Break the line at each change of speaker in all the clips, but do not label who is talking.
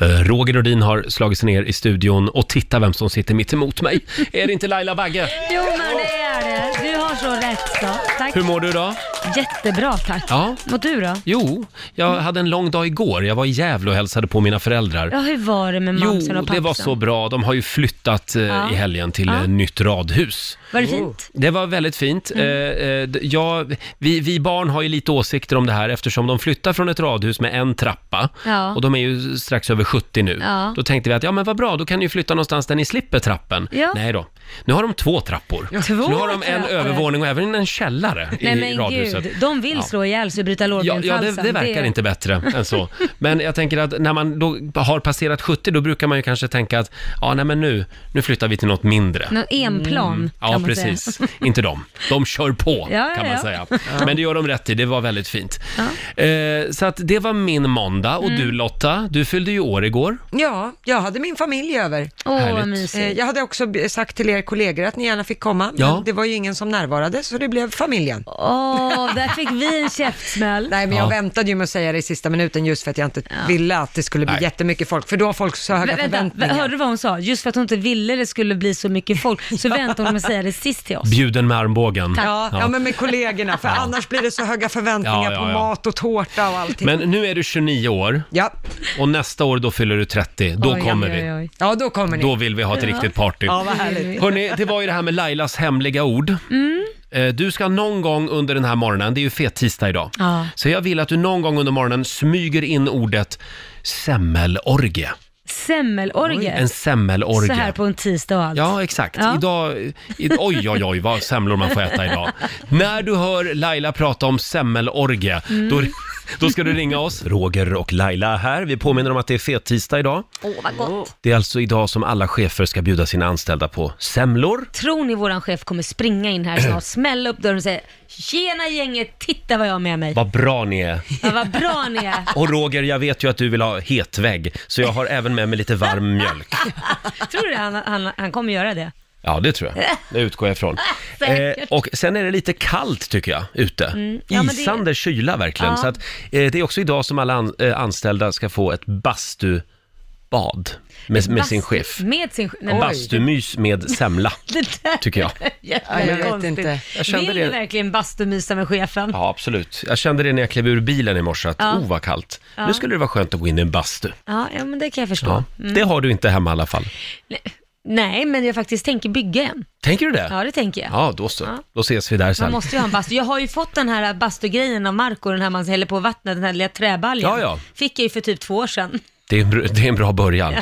Eh, Roger Nordin har slagit sig ner i studion och titta vem som sitter mitt emot mig. Är det inte Laila Bagge?
Jo men det är det. Du har så rätt då. Tack.
Hur mår du idag?
Jättebra tack.
Ja.
Och du då?
Jo, jag hade en lång dag igår. Jag var i Gävle och hälsade på mina föräldrar.
Ja, hur var det med
Jo,
mamsen och pappsen?
det var så bra. De har ju flyttat eh,
Ja.
i helgen till
Ja.
eh, nytt radhus.
Var det fint? Mm.
Det var väldigt fint. Eh, eh, d- ja, vi, vi barn har ju lite åsikter om det här eftersom de flyttar från ett radhus med en trappa
Ja.
och de är ju strax över 70 nu.
Ja.
Då tänkte vi att ja men vad bra, då kan ni ju flytta någonstans där ni slipper trappen.
Ja.
Nej då, nu har de två trappor.
Två
nu har de en
trappor.
övervåning och även en källare
Nej
i
men
radhuset.
gud, de vill
Ja.
slå ihjäl sig och bryta
Ja, ja det,
lårbenshalsen.
det verkar inte bättre än så. Men jag tänker att när man då har passerat 70, då brukar man ju kanske tänka att ja, nej men nu, nu flyttar vi till något mindre.
Någon enplan kan
Mm. Ja,
man
precis.
säga.
Inte de. De kör på,
Ja, ja,
kan man
ja.
säga. Men det gör de rätt i. Det var väldigt fint. Eh, så att det var min måndag.
Mm.
Och du Lotta, du fyllde ju år igår.
Ja, jag hade min familj över.
Åh,
Härligt.
vad
Eh,
mysigt.
Jag hade också b- sagt till er kollegor att ni gärna fick komma, men
Ja.
det var ju ingen som närvarade, så det blev familjen.
Åh, där fick vi en käftsmäll.
Nej, men
Ja.
jag väntade ju med att säga det i sista minuten just för att jag inte ville att det skulle bli
Nej.
jättemycket folk, för då har folk så höga
Vä- Vänta,
förväntningar.
hörde du vad hon sa? Just för att hon inte ville det skulle bli så mycket folk så väntade hon med att säga det sist till oss.
Bjuden med armbågen.
Ja, ja. men med kollegorna, för annars blir det så höga
Ja,
förväntningar
ja,
på
ja.
mat och tårta och allting.
Men nu är du 29 år
Ja.
och nästa år då fyller du 30. Då
Oj,
kommer
oj,
vi.
oj, oj.
ja, då kommer ni.
Då vill vi ha ett riktigt party.
Ja, vad härligt.
Hörni, det var ju det här med Lailas hemliga ord.
Mm.
Eh, Du ska någon gång under den här morgonen, det är ju fettisdag idag,
Ja.
så jag vill att du någon gång under morgonen smyger in ordet semmelorgie.
Semmelorgie.
En semmelorgie.
Så här på en tisdag och allt.
Ja, exakt.
Ja.
Idag, i, oj, oj, oj, vad semlor man får äta idag. När du hör Laila prata om semmelorgie,
Mm.
då, då ska du ringa oss. Roger och Laila är här. Vi påminner om att det är fettisdag idag.
Åh, vad gott.
Det är alltså idag som alla chefer ska bjuda sina anställda på semlor.
Tror ni våran chef kommer springa in här snart, smälla upp dörren och säga “Tjena gänget, titta vad jag har med mig”?
Vad bra ni är.
Ja, vad bra ni är.
Och Roger, jag vet ju att du vill ha hetvägg, så jag har även med mig lite varm mjölk.
Tror du han, han, han kommer göra det?
Ja, det tror jag. Det utgår jag ifrån.
Ah,
Eh,
Säkert. Mm.
och sen är det lite kallt tycker jag, ute.
Ja, men det-
Isande kyla verkligen.
Ja.
Så att, eh, det är också idag som alla an, eh, anställda ska få ett bastubad med, med sin
Bast-
chef.
Med sin chef? Nej, men-
Bastumys med semla,
Det där
tycker jag.
Ja, jag vet
Konstigt.
inte.
Jag kände
Vill
det-
ni verkligen bastumysa med chefen?
Ja, absolut. Jag kände det när jag klev ur bilen i morse, att
Ja.
oh vad kallt. Nu skulle det vara skönt att gå in i en bastu.
Ja, ja, men det kan jag förstå. Mm.
Ja. Det har du inte hemma i alla fall.
Nej, men jag faktiskt tänker bygga en.
Tänker du det?
Ja, det tänker jag.
Ja, då så. Då ses vi där sen.
Man måste ju ha en bastu. Jag har ju fått den här bastugrejen av Marco, den här man häller på vattnet, den här lilla träbaljan.
Ja, ja.
Fick jag ju för typ två år sedan.
Det, är en, br- det är en bra början.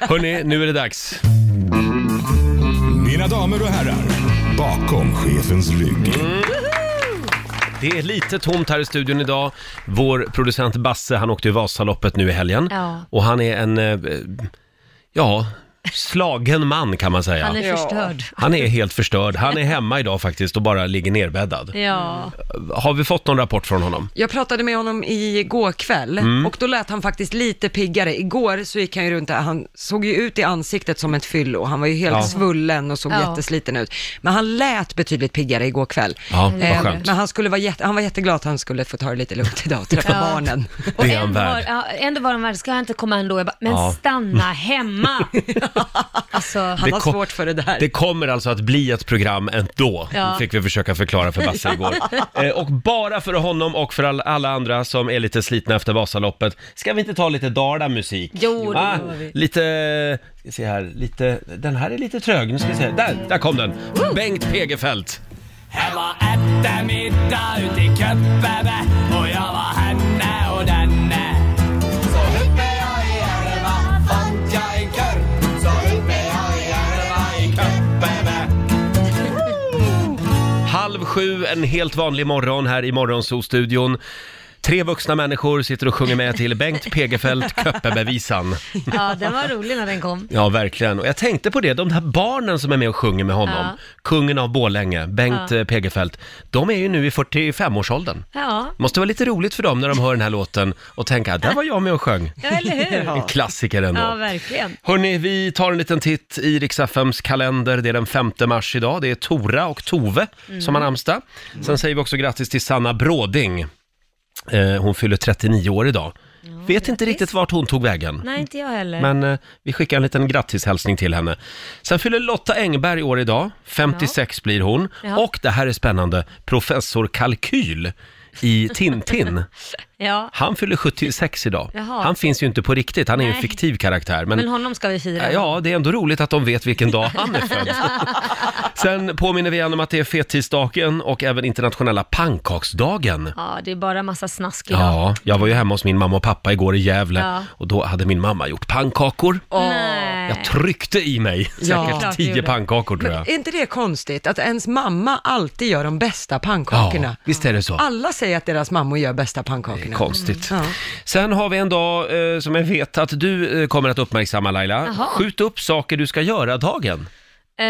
Hörni, nu är det dags.
Mina damer och herrar, bakom chefens rygg.
Mm.
Det är lite tomt här i studion idag. Vår producent Basse, han åkte ju Vasaloppet nu i helgen.
Ja.
Och han är en, eh, ja, slagen man kan man säga.
Han är
Ja.
förstörd.
Han är helt förstörd. Han är hemma idag faktiskt och bara ligger nerbäddad.
Ja.
Har vi fått någon rapport från honom?
Jag pratade med honom igår kväll
Mm.
och då lät han faktiskt lite piggare. Igår så gick han ju runt där, han såg ju ut i ansiktet som ett fyllo. Han var ju helt
Ja.
svullen och såg
Ja.
jättesliten ut. Men han lät betydligt piggare igår kväll.
Ja, vad
Eh,
skönt.
Men han, skulle vara jätte, han var jätteglad att han skulle få ta det lite lugnt idag och träffa
Ja.
barnen.
Och
Det är han
ändå
värd.
var, ja, ändå var han värd, ska han inte komma ändå? Jag bara, men
Ja.
stanna hemma! alltså,
Han har
kom-
svårt för det där.
Det kommer alltså att bli ett program ändå,
Ja.
fick vi försöka förklara för Basse igår. Eh, och bara för honom och för all, alla andra som är lite slitna efter Vasaloppet, ska vi inte ta lite Dala-musik?
Jo, det
Va?
gör vi.
Lite, ska se här, lite, den här är lite trög, nu ska vi se, där, där kom den! Bengt Pegefeldt.
Här var eftermiddag ute i Köpebe och jag var henne och denne. Så uppe jag i älva fann jag en kurv. Så uppe jag i älva i Köpebe.
Halv sju, en helt vanlig morgon här i Morgonzoo-studion. Tre vuxna människor sitter och sjunger med till Bengt Pegefeldt, Köppebevisan.
ja, den var rolig när den kom.
Ja, verkligen. Och jag tänkte på det, de här barnen som är med och sjunger med honom,
Ja.
kungen av Borlänge, Bengt ja. Pegefeldt, de är ju nu i 45-årsåldern.
Ja,
Måste vara lite roligt för dem när de hör den här låten och tänka, där var jag med och sjöng.
ja eller hur?
En klassiker ändå.
Ja, verkligen.
Hörni, vi tar en liten titt i Riks-FMs kalender. Det är den 5 mars idag. Det är Tora och Tove som
Mm.
har namnsdag. Sen säger vi också grattis till Sanna Bråding. Eh, hon fyller 39 år idag. Vet inte
grattis.
riktigt vart hon tog vägen.
Nej, inte jag heller.
Men eh, vi skickar en liten grattishälsning till henne. Sen fyller Lotta Engberg år idag. 56 blir hon.
Ja.
Och det här är spännande, professor Kalkyl i Tintin.
Ja,
Han fyller 76 idag.
Jaha.
Han finns ju inte på riktigt, han är ju en
Nej.
fiktiv karaktär. Men,
men honom ska vi fira.
ja, det är ändå roligt att de vet vilken dag han är född. Sen påminner vi igen om att det är fettisdagen och även internationella pannkaksdagen.
Ja, det är bara massa snask idag.
Ja, jag var ju hemma hos min mamma och pappa igår i Gävle
Ja.
och då hade min mamma gjort pannkakor.
Nej.
Jag tryckte i mig säkert
Klart du
tio
gjorde.
pannkakor tror jag.
Är inte det konstigt att ens mamma alltid gör de bästa
Ja,
pannkakorna?
visst är det så.
Alla säger att deras mammor gör bästa pannkakorna. Mm.
Konstigt.
Ja.
Sen har vi en dag eh, som jag vet att du eh, kommer att uppmärksamma Laila.
Jaha.
Skjut upp saker du ska göra-dagen.
Eh,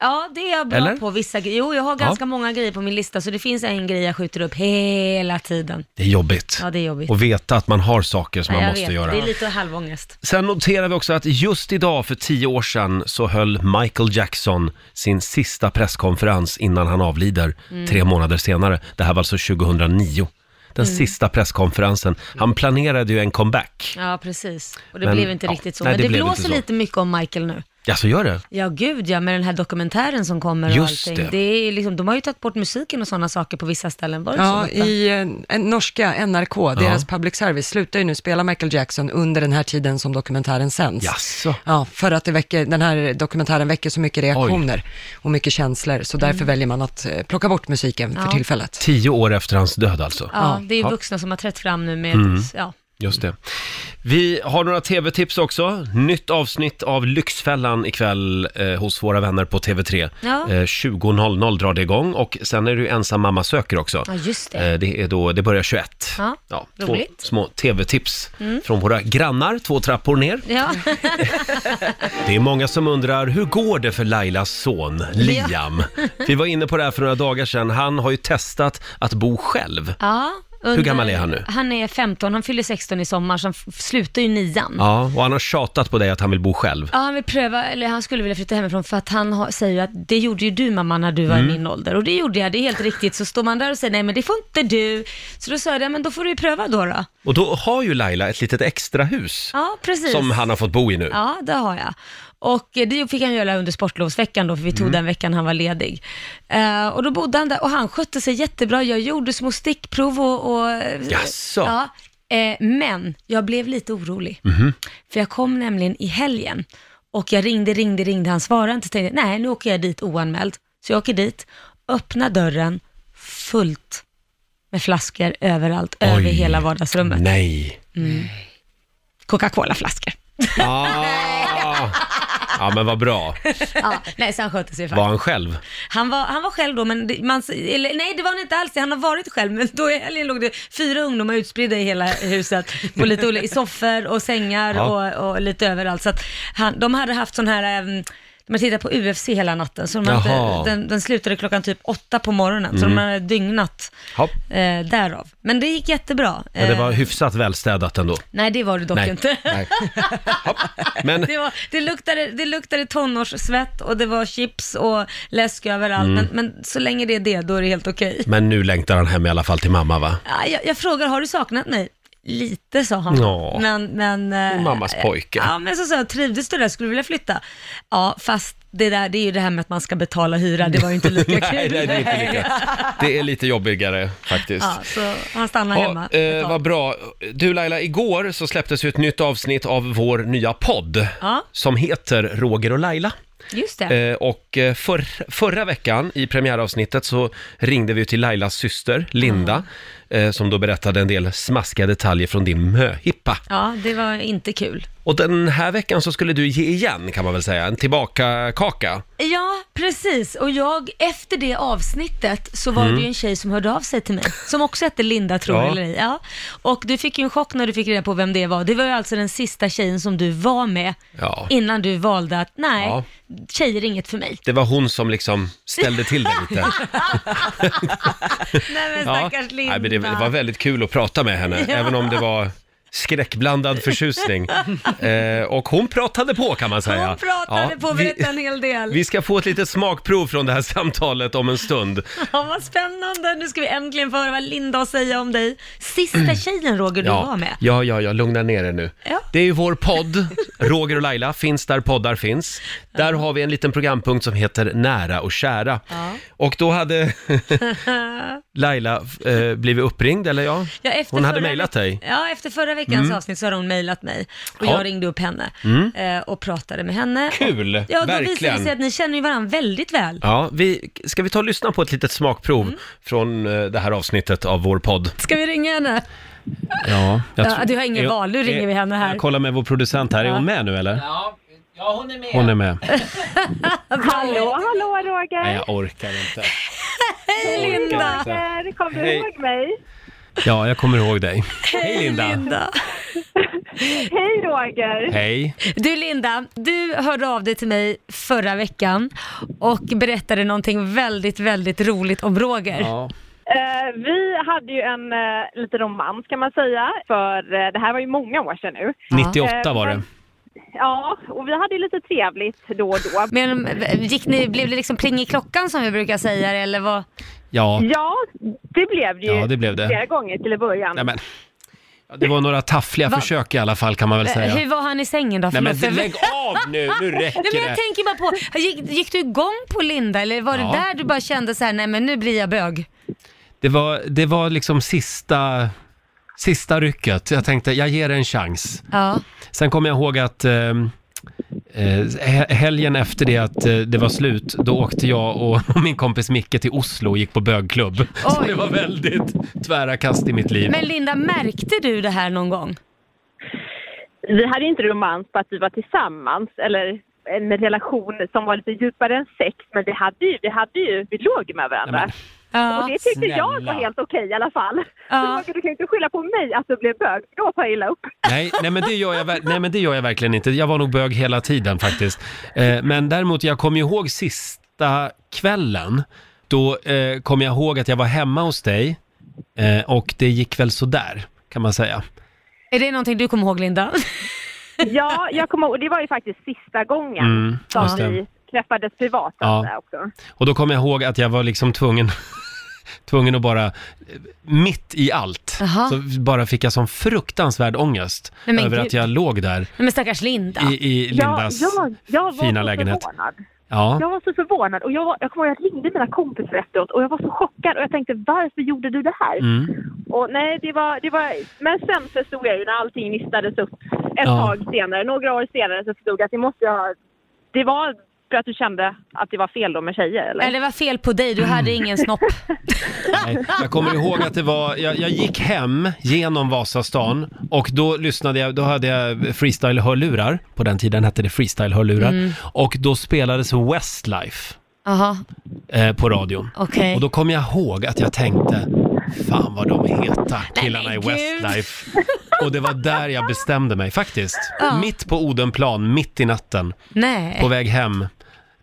ja, det är jag bra
Eller?
på vissa grejer. Jo, jag har ganska många grejer på min lista, så det finns en grej jag skjuter upp hela tiden.
Det är jobbigt.
Ja, det är jobbigt.
Och veta att man har saker som
Ja,
man
jag
måste
vet.
göra.
Det är lite halvångest.
Sen noterar vi också att just idag för tio år sedan så höll Michael Jackson sin sista presskonferens innan han avlider
Mm.
tre månader senare. Det här var alltså 2009. Den
Mm.
sista presskonferensen. Han planerade ju en comeback.
Ja, precis. Och det
Men,
blev inte
ja.
riktigt så.
Nej,
Men
det
det,
blev inte
blåser
så.
lite mycket om Michael nu.
Ja, så gör det?
Ja, gud ja, med den här dokumentären som kommer och
Just
allting.
det.
Det. är ju liksom, de har ju tagit bort musiken och sådana saker på vissa ställen. Var det
Ja,
så? Lotta?
i eh, en, norska NRK, deras public service, slutar ju nu spela Michael Jackson under den här tiden som dokumentären sänds.
Jaså?
Ja, för att det väcker, den här dokumentären väcker så mycket reaktioner och mycket känslor, så därför väljer man att eh, plocka bort musiken för
Ja.
tillfället.
Tio år efter hans död alltså.
ja, det är
Ja. Mm.
ju vuxna som har trätt fram nu med, ja.
Just det. Vi har några tv-tips också. Nytt avsnitt av Lyxfällan ikväll eh, hos våra vänner på TV3.
Ja.
Eh, 20.00 drar det igång och sen är det ju Ensam mamma söker också.
Ja, just det.
Eh, det, är då, det börjar 21.
Ja,
två
roligt. Mm.
små tv-tips från våra grannar, två trappor ner.
Ja,
Det är många som undrar, hur går det för Lailas son Liam? Vi var inne på det här för några dagar sedan. Han har ju testat att bo själv.
ja
Hur gammal är han nu?
Han är 15, han fyller 16 i sommar, så han f- slutar ju nian.
Ja, och han har tjatat på dig att han vill bo själv.
Ja, han vill pröva, eller han skulle vilja flytta hemifrån för att han har, säger ju att det gjorde ju du mamma när du var
Mm.
i min ålder och det gjorde jag, det är helt riktigt. Så står man där och säger nej men det får inte du. Så då sa jag, "Ja, men då får du ju pröva då. då.
Och då har ju Laila ett litet extra hus
Ja, precis.
som han har fått bo i nu.
Ja, det har jag. Och eh, det fick han göra under sportlovsveckan då, för vi
Mm.
tog den veckan han var ledig. Eh, och då bodde han där och han skötte sig jättebra. Jag gjorde små stickprov och... och
Jaså?
Ja. Eh, men jag blev lite orolig.
Mm-hmm.
För jag kom nämligen i helgen och jag ringde, ringde, ringde. Han svarade inte. Så tänkte jag, nej, nu åker jag dit oanmäld. Så jag åker dit, öppnar dörren, fullt med flaskor överallt, över
Oj.
hela vardagsrummet. Mm.
Nej.
Coca-Cola-flaskor.
Ah. Ja, men vad bra.
Ja, nej, så han skötte sig faktiskt.
Var han själv?
Han var, han var själv då, men det- man, eller, nej det var han inte alls, han har varit själv, men då i helgen låg det fyra ungdomar utspridda i hela huset, på lite olika, i soffor och sängar
Ja.
och, och lite överallt. Så att han, de hade haft sån här, ehm, de hade tittat på UFC hela natten, så de hade,
Jaha. Mm.
inte- den, den slutade klockan typ åtta på morgonen, så de hade dygnat
Hopp.
eh, därav. Men det gick jättebra.
Men det var
Eh,
hyfsat välstädat ändå.
nej, det var det dock
Nej.
inte.
Nej. Hopp. Men
Det, var, det, luktade, det luktade tonårssvett och det var chips och läsk överallt,
Mm.
men, men så länge det är det, då är det helt okej.
Men nu längtar han hem i alla fall till mamma va?
Ja, Jag, jag frågar, har du saknat mig? Lite, sa han.
Ja.
Men, men, eh,
Mammas pojke.
Ja, men så sa jag, trivdes du där? Skulle du vilja flytta? Ja, fast det där, det är ju det här med att man ska betala hyra, det var ju inte lika kul.
Nej, nej, det är inte lika. Det är lite jobbigare faktiskt.
Ja, så han stannar hemma.
Ja,
ett
eh,
tag.
vad bra. Du Laila, igår så släpptes ju ett nytt avsnitt av vår nya podd
Ja.
som heter Roger och Laila.
Just det.
Eh, och eh, för, förra veckan i premiäravsnittet så ringde vi ju till Lailas syster Linda
Mm.
eh, som då berättade en del smaskiga detaljer från din möhippa.
Ja, det var inte kul.
Och den här veckan så skulle du ge igen kan man väl säga, en tillbaka-kaka.
Ja, precis. Och jag, efter det avsnittet så var det ju en tjej som hörde av sig till mig, som också hette Linda tror
Mm. Ja.
jag, eller ej. ja. Och du fick ju en chock när du fick reda på vem det var. Det var ju alltså den sista tjejen som du var med
Ja.
innan du valde att, nej,
Ja.
tjejer är inget för mig.
Det var hon som liksom ställde till det lite.
Nej men
Ja.
stackars Linda.
Nej, men det, det var väldigt kul att prata med henne,
Ja.
även om det var skräckblandad förtjusning. Eh, och hon pratade på kan man säga.
Hon pratade
Ja,
på och
vi-
berättade en hel del.
Vi ska få ett litet smakprov från det här samtalet om en stund.
Ja, vad spännande. Nu ska vi äntligen få höra vad Linda har att säga om dig. Sista tjejen, Roger, du var med.
ja, ja, ja, lugna ner er nu.
Ja.
Det är ju vår podd, Roger och Laila, finns där poddar finns. Där har vi en liten programpunkt som heter Nära och kära. Och då hade Laila eh, blivit uppringd, eller ja?
Ja, efter
Hon hade
förra
mejlat
veck-
dig. Mm.
Ja, efter förra veckans avsnitt så hade hon mejlat mig och
Ja. Mm.
jag ringde upp henne eh, och pratade med henne.
Kul,
Och, ja, då visade
verkligen.
det sig att ni känner ju varandra väldigt väl.
Ja, vi, ska vi ta och lyssna på ett litet smakprov
Mm.
från eh, det här avsnittet av vår podd?
Ska vi ringa henne?
Ja,
Ja, tror- du har ingen
Är-
val. Nu ringer
är-
vi henne här.
Jag kollar med vår producent här, är hon med nu eller?
Ja, ja hon är med.
Hon är med.
Hallå, hallå Roger!
Nej, jag orkar inte.
Hej
orkar
Linda!
inte.
Roger, Kommer du
Hej.
ihåg mig?
Ja, jag kommer ihåg dig. Hej Linda!
Linda.
Hej Roger!
Hej!
Du Linda, du hörde av dig till mig förra veckan och berättade någonting väldigt, väldigt roligt om Roger.
Ja.
Eh, vi hade ju en eh, liten romans kan man säga, för eh, det här var ju många år sedan nu. Eh,
98 var det.
Ja, och vi hade ju lite trevligt då och då.
Men gick ni, blev det liksom pling i klockan som vi brukar säga eller vad?
Ja.
Mm.
Ja, det blev det ju
Ja, det blev det.
flera gånger till i början.
Nej, men. Ja, Det var några taffliga
Va? Eh,
försök i alla fall kan man väl säga.
Hur var han i sängen då?
Nej men
Förlåt, jag-
lägg av nu, nu
Nej,
räcker
men jag
det.
tänker bara på, gick, gick du igång på Linda eller var
Ja.
det där du bara kände så här, nej men nu blir jag bög?
Det var, det var liksom sista, sista rycket. Jag tänkte, jag ger det en chans.
Ja.
Sen kommer jag ihåg att eh, eh, he- helgen efter det att eh, det var slut, då åkte jag och min kompis Micke till Oslo och gick på bögklubb. Så
Oj.
det var väldigt tvära kast i mitt liv.
Men Linda, märkte du det här någon gång?
Vi hade ju inte romans på att vi var tillsammans eller en relation som var lite djupare än sex, men vi hade ju, vi, hade ju, vi låg med varandra.
Nej,
Och
Ja.
det tyckte jag
Snälla.
var helt okej i alla fall.
Ja.
Så du kan ju inte skylla på mig att du blev bög, då tar jag illa upp.
Nej, nej, men det gör jag, ver- nej, men det gör jag verkligen inte. Jag var nog bög hela tiden faktiskt. Eh, men däremot, jag kommer ihåg sista kvällen. Då eh, kom jag ihåg att jag var hemma hos dig eh, och det gick väl sådär, kan man säga.
Är det någonting du kommer ihåg Linda?
Ja, jag kommer ihåg, det var ju faktiskt sista gången
Mm, just det.
som vi träffades privat
Ja.
alltså, också.
Och då kommer jag ihåg att jag var liksom tvungen, tvungen att bara, eh, mitt i allt,
Jaha.
så bara fick jag sån fruktansvärd ångest
Nej, men
över
gud.
att jag låg där
Nej men stackars Linda.
i, i Lindas
ja, jag, jag var
fina
så
lägenhet.
Förvånad.
Ja.
Jag var så förvånad och jag, var, jag kommer ihåg, jag ringde mina kompisar efteråt och jag var så chockad och jag tänkte varför gjorde du det här?
Mm.
Och nej, det var, det var, men sen förstod jag ju när allting nystades upp ett
Ja.
tag senare, några år senare så förstod jag att det måste jag ha, det var för att du kände att det var fel då med tjejer eller?
Eller det var fel på dig, du hade ingen snopp.
Nej, jag kommer ihåg att det var, jag, jag gick hem genom Vasastan och då lyssnade jag, då hade jag freestyle-hörlurar, på den tiden hette det freestyle-hörlurar,
Mm.
och då spelades Westlife
Jaha,
eh, på radion.
okej.
Och då kom jag ihåg att jag tänkte, fan vad de är heta, killarna i
Nej, men gud.
Westlife. Och det var där jag bestämde mig faktiskt.
Ja.
Mitt på Odenplan, mitt i natten,
Nej.
på väg hem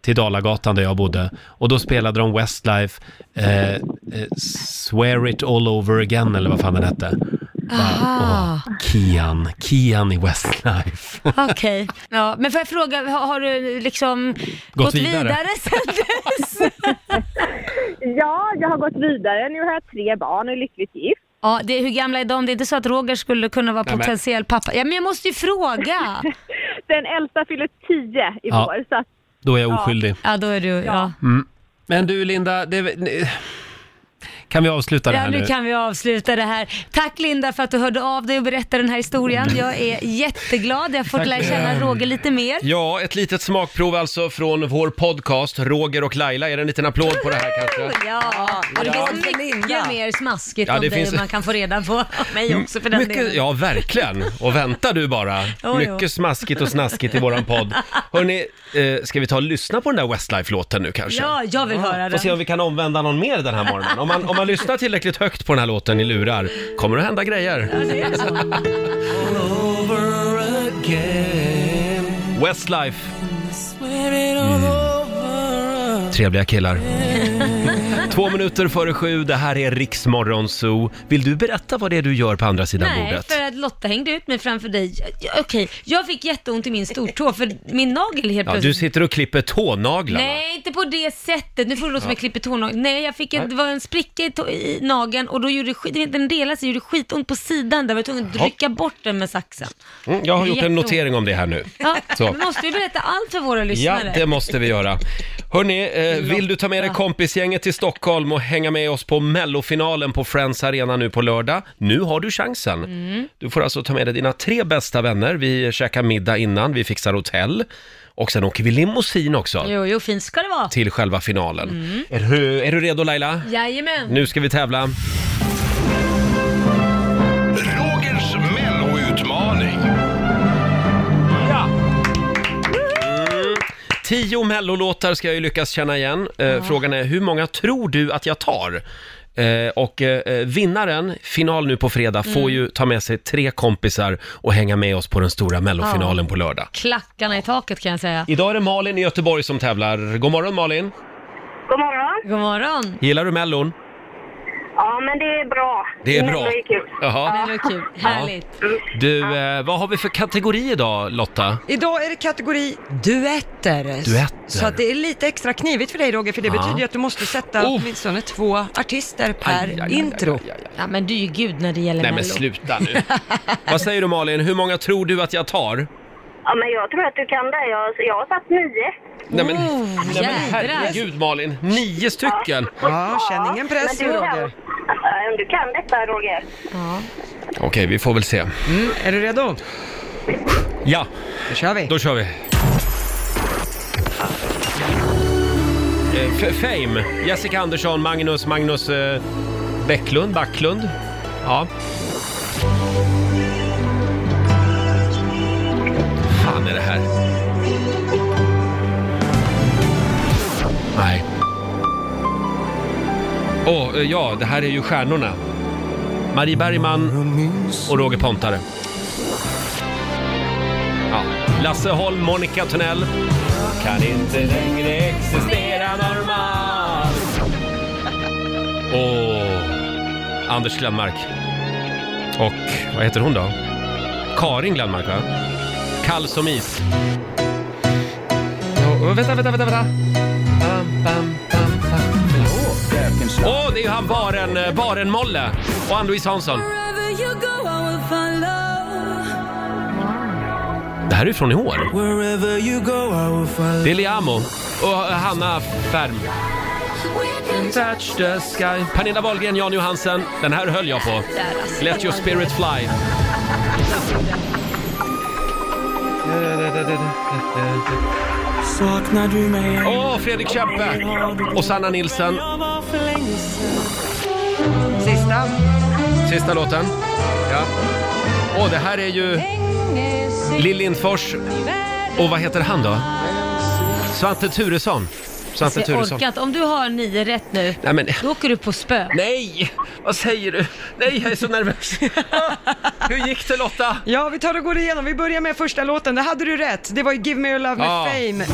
till Dalagatan där jag bodde. Och då spelade de Westlife, eh, eh, Swear It All Over Again eller vad fan den hette. Bara,
Aha.
åh, Kian, Kian i Westlife.
Okej. Ja, men får jag fråga, har, har du liksom gått,
vidare?
vidare, sen dess?
Ja, jag har gått vidare. Nu har jag tre barn och är lyckligt gift.
ja, det, hur gamla är de? Det är inte så att Roger skulle kunna vara
Nej, men-
potentiell pappa? Ja, men jag måste ju fråga.
Den äldsta fyller tio i
Ja.
vår. Så att,
Då är jag oskyldig. Mm.
Ja, då är du, ja.
Men du Linda, det, kan vi avsluta det
Ja,
här
nu kan vi avsluta det här. Tack Linda för att du hörde av dig och berättade den här historien.
Mm.
Jag är jätteglad. Jag har fått lära känna Roger lite mer.
Ja, ett litet smakprov alltså från vår podcast Roger och Laila. Är det en liten applåd på det här kanske?
Ja, och det
Ja.
finns mycket
Linda.
mer smaskigt
Ja,
om
det
dig
finns-
man kan få reda på. Mig också för den
Mycket,
delen.
ja, verkligen. Och vänta du bara.
jo.
Mycket smaskigt och snaskigt i våran podd. Hörni, eh, ska vi ta och lyssna på den där Westlife-låten nu kanske?
Ja, jag vill höra
Och Ah, se
den.
om vi kan omvända någon mer den här morgonen. Om man, om man lyssnar tillräckligt högt på den här låten i lurar kommer det att hända grejer. Mm. Westlife. Trevliga killar. Två minuter före sju, det här är Riksmorgon Zoo. Vill du berätta vad det är du gör på andra sidan
Nej,
bordet?
för att Lotta hängde ut mig framför dig. Ja, ja, Okej, jag fick jätteont i min stortå för min nagel helt
Ja, du
plötsligt...
sitter och klipper tånaglarna.
Nej, inte på det sättet. Nu får det låta som jag klipper tånageln. Nej, jag fick en, det var en spricka i, tå- i nageln och då gjorde det skit, den delade sig, gjorde skitont på sidan där. Jag var tvungen att rycka bort den med saxen.
Mm, jag har gjort en
Jätteont.
notering om det här nu.
Ja,
Så.
men måste vi berätta allt för våra
Ja,
lyssnare?
det måste vi göra. Hörni, eh, vill du ta med dig kompisgänget till Stockholm och hänga med oss på mellofinalen på Friends Arena nu på lördag? Nu har du chansen. Du får alltså ta med dig dina tre bästa vänner. Vi käkar middag innan, vi fixar hotell och sen åker vi limousin också
Jo, jo, fint ska det vara.
till själva finalen. Är, du, är du redo Laila?
Jajamän.
Nu ska vi tävla.
Rogers melloutmaning.
10 Mm. mellolåtar ska jag ju lyckas känna igen. Eh, Frågan är hur många tror du att jag tar? Eh, och eh, vinnaren, final nu på fredag, får ju ta med sig tre kompisar och hänga med oss på den stora mellofinalen på lördag.
Klackarna i taket kan jag säga.
Idag är det Malin i Göteborg som tävlar. God morgon Malin!
God morgon.
God morgon.
Gillar du mellon?
Ja, men det är bra.
Det är bra.
Det är kul. Mm.
Jaha.
Det var kul. Härligt.
Du, eh, vad har vi för kategori idag Lotta?
Idag är det kategori duetter.
Duetter.
Så att det är lite extra knivigt för dig Roger, för det
Ja.
betyder ju att du måste sätta
Oh.
åtminstone två artister per
Aj, aj, aj,
intro.
aj, aj, aj.
Ja, men du är ju gud när det gäller
Nej men
Mello.
sluta nu. vad säger du Malin, hur många tror du att jag tar?
Ja, men jag tror att du kan det. Jag, jag har satt nio.
Nej men,
Oh,
nej, men
jädrar.
herregud Malin, nio stycken!
Ja, känn ingen press
men
nu
du kan-
Roger.
Ja, men Äh, Du kan detta, Roger.
Ja.
Okej, vi får väl se.
Mm, är du redo?
Ja,
Då kör vi.
då kör vi. Eh, F- Fame, Jessica Andersson, Magnus, Magnus eh, Bäcklund, Backlund. Ja. fan är det här? Nej. Åh, eh, ja, det här är ju stjärnorna. Marie Bergman och Roger Pontare. Ja. Lasse Holm, Monica Tunnell. Kan inte längre existera normalt. Och Anders Glenmark. Och vad heter hon då? Karin Glenmark va? Kall som is. Och, och, vänta, vänta, vänta, vänta. Bam, bam, bam, bam. Åh, det är ju han baren, eh, Baren-Molle och Ann-Louise Hansson. Det här är ju från i år. Det är Liamo och Hanna Färm. Touch the sky. Pernilla Wahlgren, Jan Johansen. Den här höll jag på. Let your spirit fly.
Saknar du mig?
Åh, Fredrik Kempe! Och Sanna Nilsson.
Sista.
Sista låten. Ja. Åh, det här är ju Lill Lindfors. Och vad heter han då? Svante Turesson. Svante
Jag
Turesson.
orkat. Om du har nio rätt nu,
Nej, men...
då åker du på spö.
Nej! Vad säger du? Nej, jag är så nervös. Hur gick det Lotta?
Ja, vi tar och går igenom. Vi börjar med första låten. Där hade du rätt. Det var ju Give Me Your Love med
Ja.
Fame.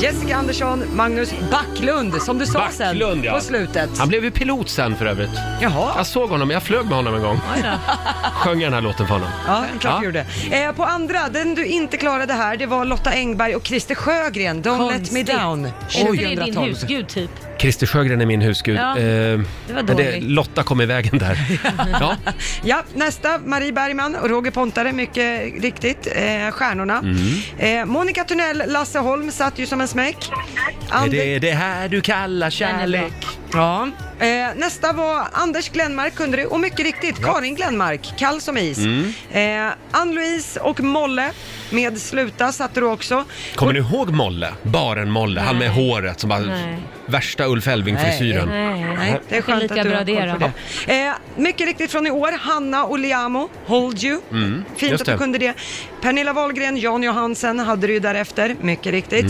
Jessica Andersson, Magnus Backlund, som du sa
Backlund,
sen
ja.
på slutet.
Han blev ju pilot sen för övrigt.
Jaha,
Jag såg honom, jag flög med honom en gång. Sjöng jag den här låten för honom.
ja, det är klart
Ja.
du gjorde. Eh, på andra, den du inte klarade här, det var Lotta Engberg och Christer Sjögren, Don't Let
Konstigt.
Me Down,
Är inte det din
2012.
husgud typ?
Christer Sjögren är min husgud.
Ja,
Eh,
det var
men
dåligt.
Lotta kom i vägen där. Ja.
Ja, nästa, Marie Bergman och Roger Pontare, mycket riktigt, eh, stjärnorna.
Mm.
Eh, Monica Tunnell, Lasse Holm satt ju som en smäck.
Är
Ander-
det det här du kallar kärlek?
Ja. Eh, nästa var Anders Glenmark kunde du, och mycket riktigt Karin Glenmark, kall som is.
Mm.
Eh, Ann-Louise och Molle med Sluta satte du också.
Kommer ni ihåg Molle? Baren-Molle, han med håret som bara...
Nej.
Värsta Ulf Elving-frisyren.
Nej.
Nej, det är skönt
lika
att du
bra
har
det
koll på
då.
det. Eh, mycket riktigt från i år, Hanna och Liamo, Hold You. Fint
Mm, just
att du
det.
kunde det. Pernilla Wahlgren, Jan Johansen hade du ju därefter, mycket riktigt.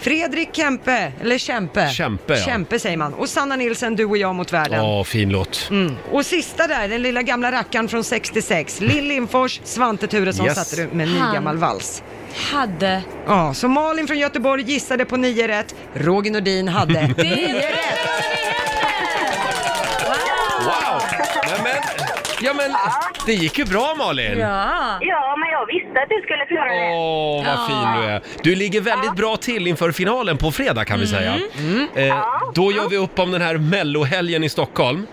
Fredrik Kempe, eller Kämpe.
Kämpe, Mm. ja.
Kämpe säger man. Och Sanna Nilsen, Du och jag mot världen.
Åh, fin låt.
Mm. Och sista där, den lilla gamla rackaren från 66, Lill Lindfors, Svante Turesson
Mm. Yes.
satte du med ny
Han.
gammal vals.
hade...
Ja, så Malin från Göteborg gissade på nio rätt. Roger Nordin hade nio rätt.
Wow! Nej, men, ja, men det gick ju bra Malin!
Ja.
Ja, men jag visste att du skulle klara det.
Åh, vad
Ja.
fin du är! Du ligger väldigt bra till inför finalen på fredag kan vi
Mm.
säga. Eh, då gör vi upp om den här mellohelgen i Stockholm.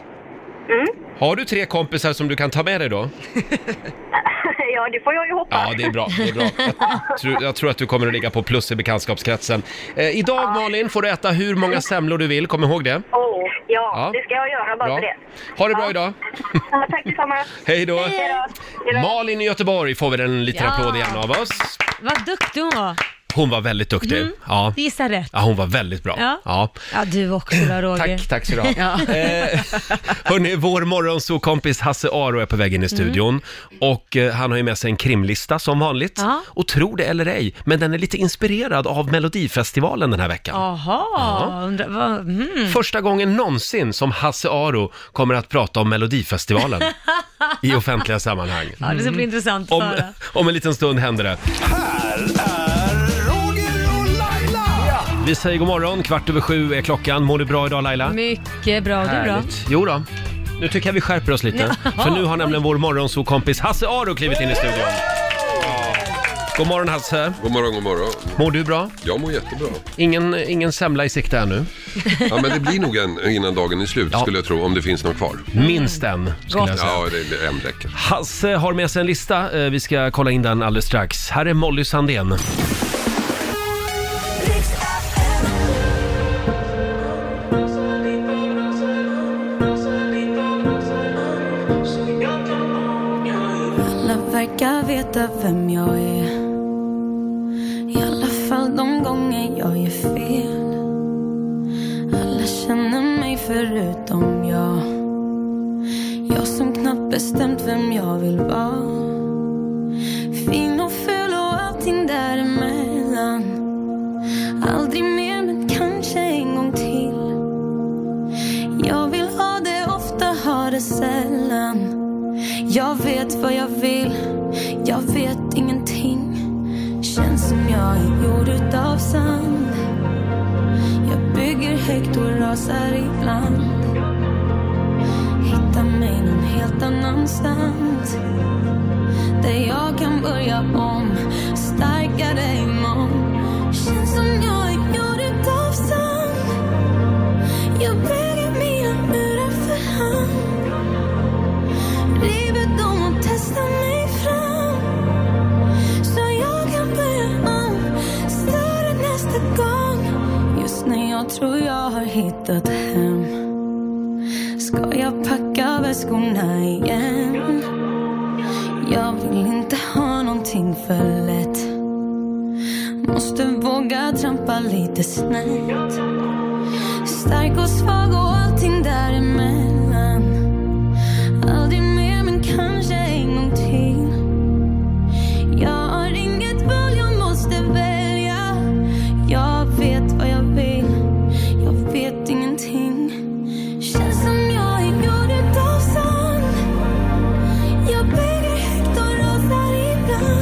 Mm.
Har du tre kompisar som du kan ta med dig då?
ja, det får jag ju hoppas.
Ja, det är bra. Det är bra. Jag, tror, jag tror att du kommer att ligga på plus i bekantskapskretsen. Eh, idag Malin får du äta hur många
Mm.
semlor du vill, kom ihåg det.
Åh, ja,
Ja.
det ska jag göra bara
Bra.
för det.
Ha det bra idag!
Ja, tack detsamma.
Hej då!
Hej då.
Malin i Göteborg får vi en liten
Ja.
applåd igen av oss.
Vad duktig hon var.
Hon var väldigt duktig. Ja.
Gissa rätt.
ja, hon var väldigt bra.
Mm. Ja.
Ja.
Ja, du också då, Roger.
Tack, tack så du ha. eh, hörni, vår morgonsokompis Hasse Aro är på väg
Mm.
in i studion. Och eh, han har ju med sig en krimlista som vanligt.
Ja.
Och tro det eller ej, men den är lite inspirerad av Melodifestivalen den här veckan.
Jaha, undrar vad... Mm.
Första gången någonsin som Hasse Aro kommer att prata om Melodifestivalen i offentliga sammanhang.
Ja, det ska bli intressant att
Mm. Om,
höra.
om en liten stund händer det.
Roger och Laila!
Vi säger god morgon, kvart över sju är klockan. Mår du bra idag Laila?
Mycket bra, du då?
Härligt. Jo då. Nu tycker jag vi skärper oss lite. För nu har nämligen vår morgonsokompis Hasse Aro klivit in i studion. Ja. God morgon Hasse.
God morgon, god morgon.
Mår du bra?
Jag mår jättebra.
Ingen, ingen semla i sikte ännu.
Mm.
Ja, men det blir nog en innan dagen är slut skulle jag tro, om det finns någon kvar.
Minst en, skulle jag säga.
Ja, det är en räcker.
Hasse har med sig en lista. Eh, Vi ska kolla in den alldeles strax. Här är Molly Sandén.
Alla verkar veta vem jag är I alla fall de gånger jag gör fel Alla känner mig förutom jag Jag som knappt bestämt vem jag vill vara Fin och ful och allting däremellan Aldrig mer men kanske en gång till Jag vill ha det ofta, ha det sällan jag vet vad jag vill, jag vet ingenting Känns som jag är gjord utav sand Jag bygger högt och rasar ibland Hitta mig någon helt annanstans Där jag kan börja om, starkare imorgon Känns som jag är gjord utav sand Jag bygger mina murar för hand Livet de har testat mig fram Så jag kan börja om Större nästa gång Just när jag tror jag har hittat hem Ska jag packa väskorna igen Jag vill inte ha någonting för lätt Måste våga trampa lite snett Stark och svag och allting däremellan Aldrig mer men kanske en gång till Jag har inget val, jag måste välja Jag vet vad jag vill, jag vet ingenting Känns som jag är gjord utav sand Jag bygger högt och rasar ibland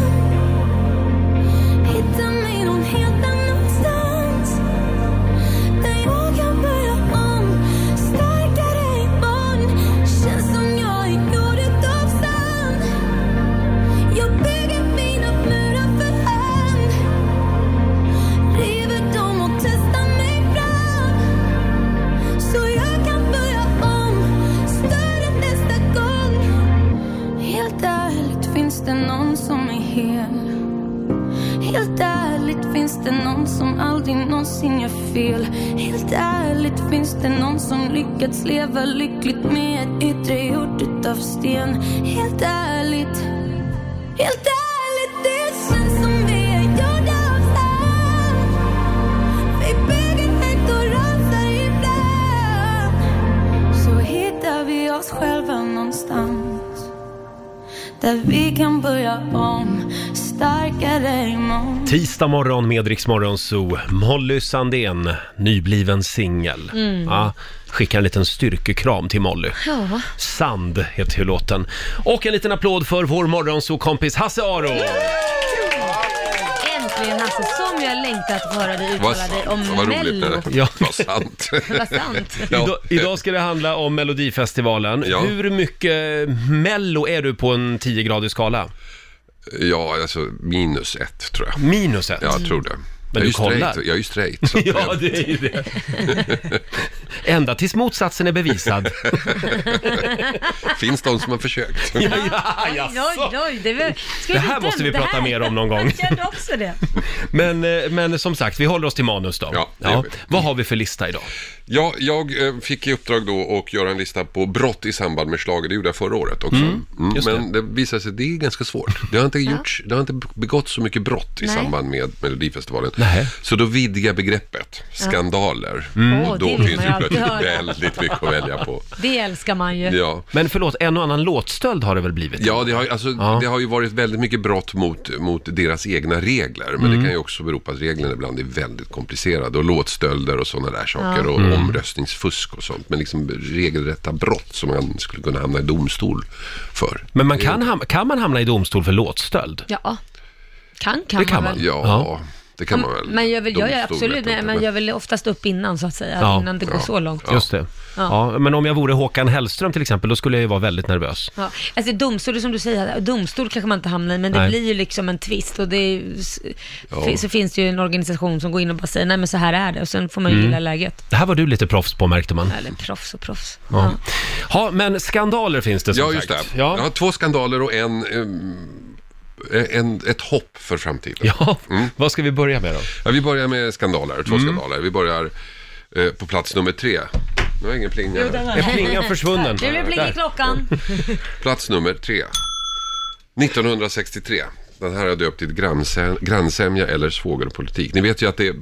Hittar mig någon helt annanstans där jag kan börja om Starkare imorgon Känns som jag är gjord utav sand Jag bygger mina murar för hand River dem och testar mig fram Så jag kan börja om Större nästa gång Helt ärligt finns det någon som är hel Helt ärligt finns det någon som aldrig någonsin gör fel Helt ärligt finns det någon som lyckats leva lyckligt med ett yttre gjort utav sten Helt ärligt, helt ärligt det känns som vi är gjorda av sand Vi bygger högt och rasar ibland Så hittar vi oss själva någonstans där vi kan börja om starkare imorgon
Tisdag morgon med Rix Morgon Zoo. Molly Sandén, nybliven singel. Ja, skickar en liten styrkekram till Molly.
Mm. Ja.
Sand heter ju låten. Och en liten applåd för vår morgonsokompis Hasse Aro!
verkligen Hasse, som jag längtat att höra dig uttala dig om
vad roligt
Mello.
det
Ja.
Vad sant.
Vad sant.
Ja.
Idag, idag ska det handla om Melodifestivalen.
Ja.
Hur mycket mello är du på en 10-gradig skala?
Ja, alltså minus ett tror jag.
Minus ett.
Ja, jag tror det.
Men
jag är
du
ju
kollar.
straight. Jag är ju straight. Så
Ja, det är ju det. Ända tills motsatsen är bevisad.
det finns de som har försökt.
Ja, ja,
Oj,
jaså.
oj, oj. Det, var, ska
Det
vi
här
inte-
måste vi
det
prata
här-
mer om någon gång.
Jag kände också det.
Men, eh, men som sagt, vi håller oss till manus då.
Ja, det gör vi.
Vad har vi för lista idag?
Ja, jag eh, fick i uppdrag då att göra en lista på brott i samband med schlager. Det gjorde jag förra året också. Mm,
just
men det visade sig att det är ganska svårt. Det har inte, gjorts, det har inte begått så mycket brott i
Nej.
samband med Melodifestivalen.
Nej.
Så då vidgar begreppet skandaler.
Mm. Åh,
Och
det
då
vill
finns
man
det
ju alltid
plötsligt
höra.
väldigt mycket att välja på.
Det älskar man ju.
Ja.
Men förlåt, en och annan låtstöld har det väl blivit?
Ja, det har, ju- alltså,
Ja.
det har ju varit väldigt mycket brott mot, mot deras egna regler. Men
Mm.
det kan ju också bero på att reglerna ibland är väldigt komplicerade. Och låtstölder och sådana där saker. Och
Mm.
omröstningsfusk och sånt. Men liksom regelrätta brott som man skulle kunna hamna i domstol för. Eh.
Men man kan, ham- kan man hamna i domstol för låtstöld?
Ja. Kan, kan
Det kan
man väl.
Ja,
Ja.
det kan man väl.
Man gör väl, jag gör
Domstol
absolut,
vet jag
nej,
inte,
man gör väl oftast upp innan så att säga,
Ja.
innan det går så långt.
Just det. Ja. men om jag vore Håkan Hellström till exempel, då skulle jag ju vara väldigt nervös.
Ja, alltså domstol, som du säger, domstol kanske man inte hamnar i, men det
Nej.
blir ju liksom en tvist och det är, ju- s- fi- så finns det ju en organisation som går in och bara säger nej men så här är det och sen får man ju gilla läget.
Mm. Det här var du lite proffs på märkte man.
Eller proffs och proffs.
Ja. Ja, men skandaler finns det som
Ja, just det.
sagt.
Jag
Ja,
har två skandaler och en, eh, en, ett hopp för framtiden. Mm.
ja. Vad ska vi börja med då? Mm.
Ja, vi börjar med skandaler, två skandaler. Vi börjar eh, på plats nummer tre. Nu har jag ingen plinga här.
Är plingan försvunnen?
Nu blir det pling i
Där.
klockan.
Plats nummer tre. 1963. Den här har jag döpt till grannsäm- grannsämja eller svågerpolitik. Ni vet ju att det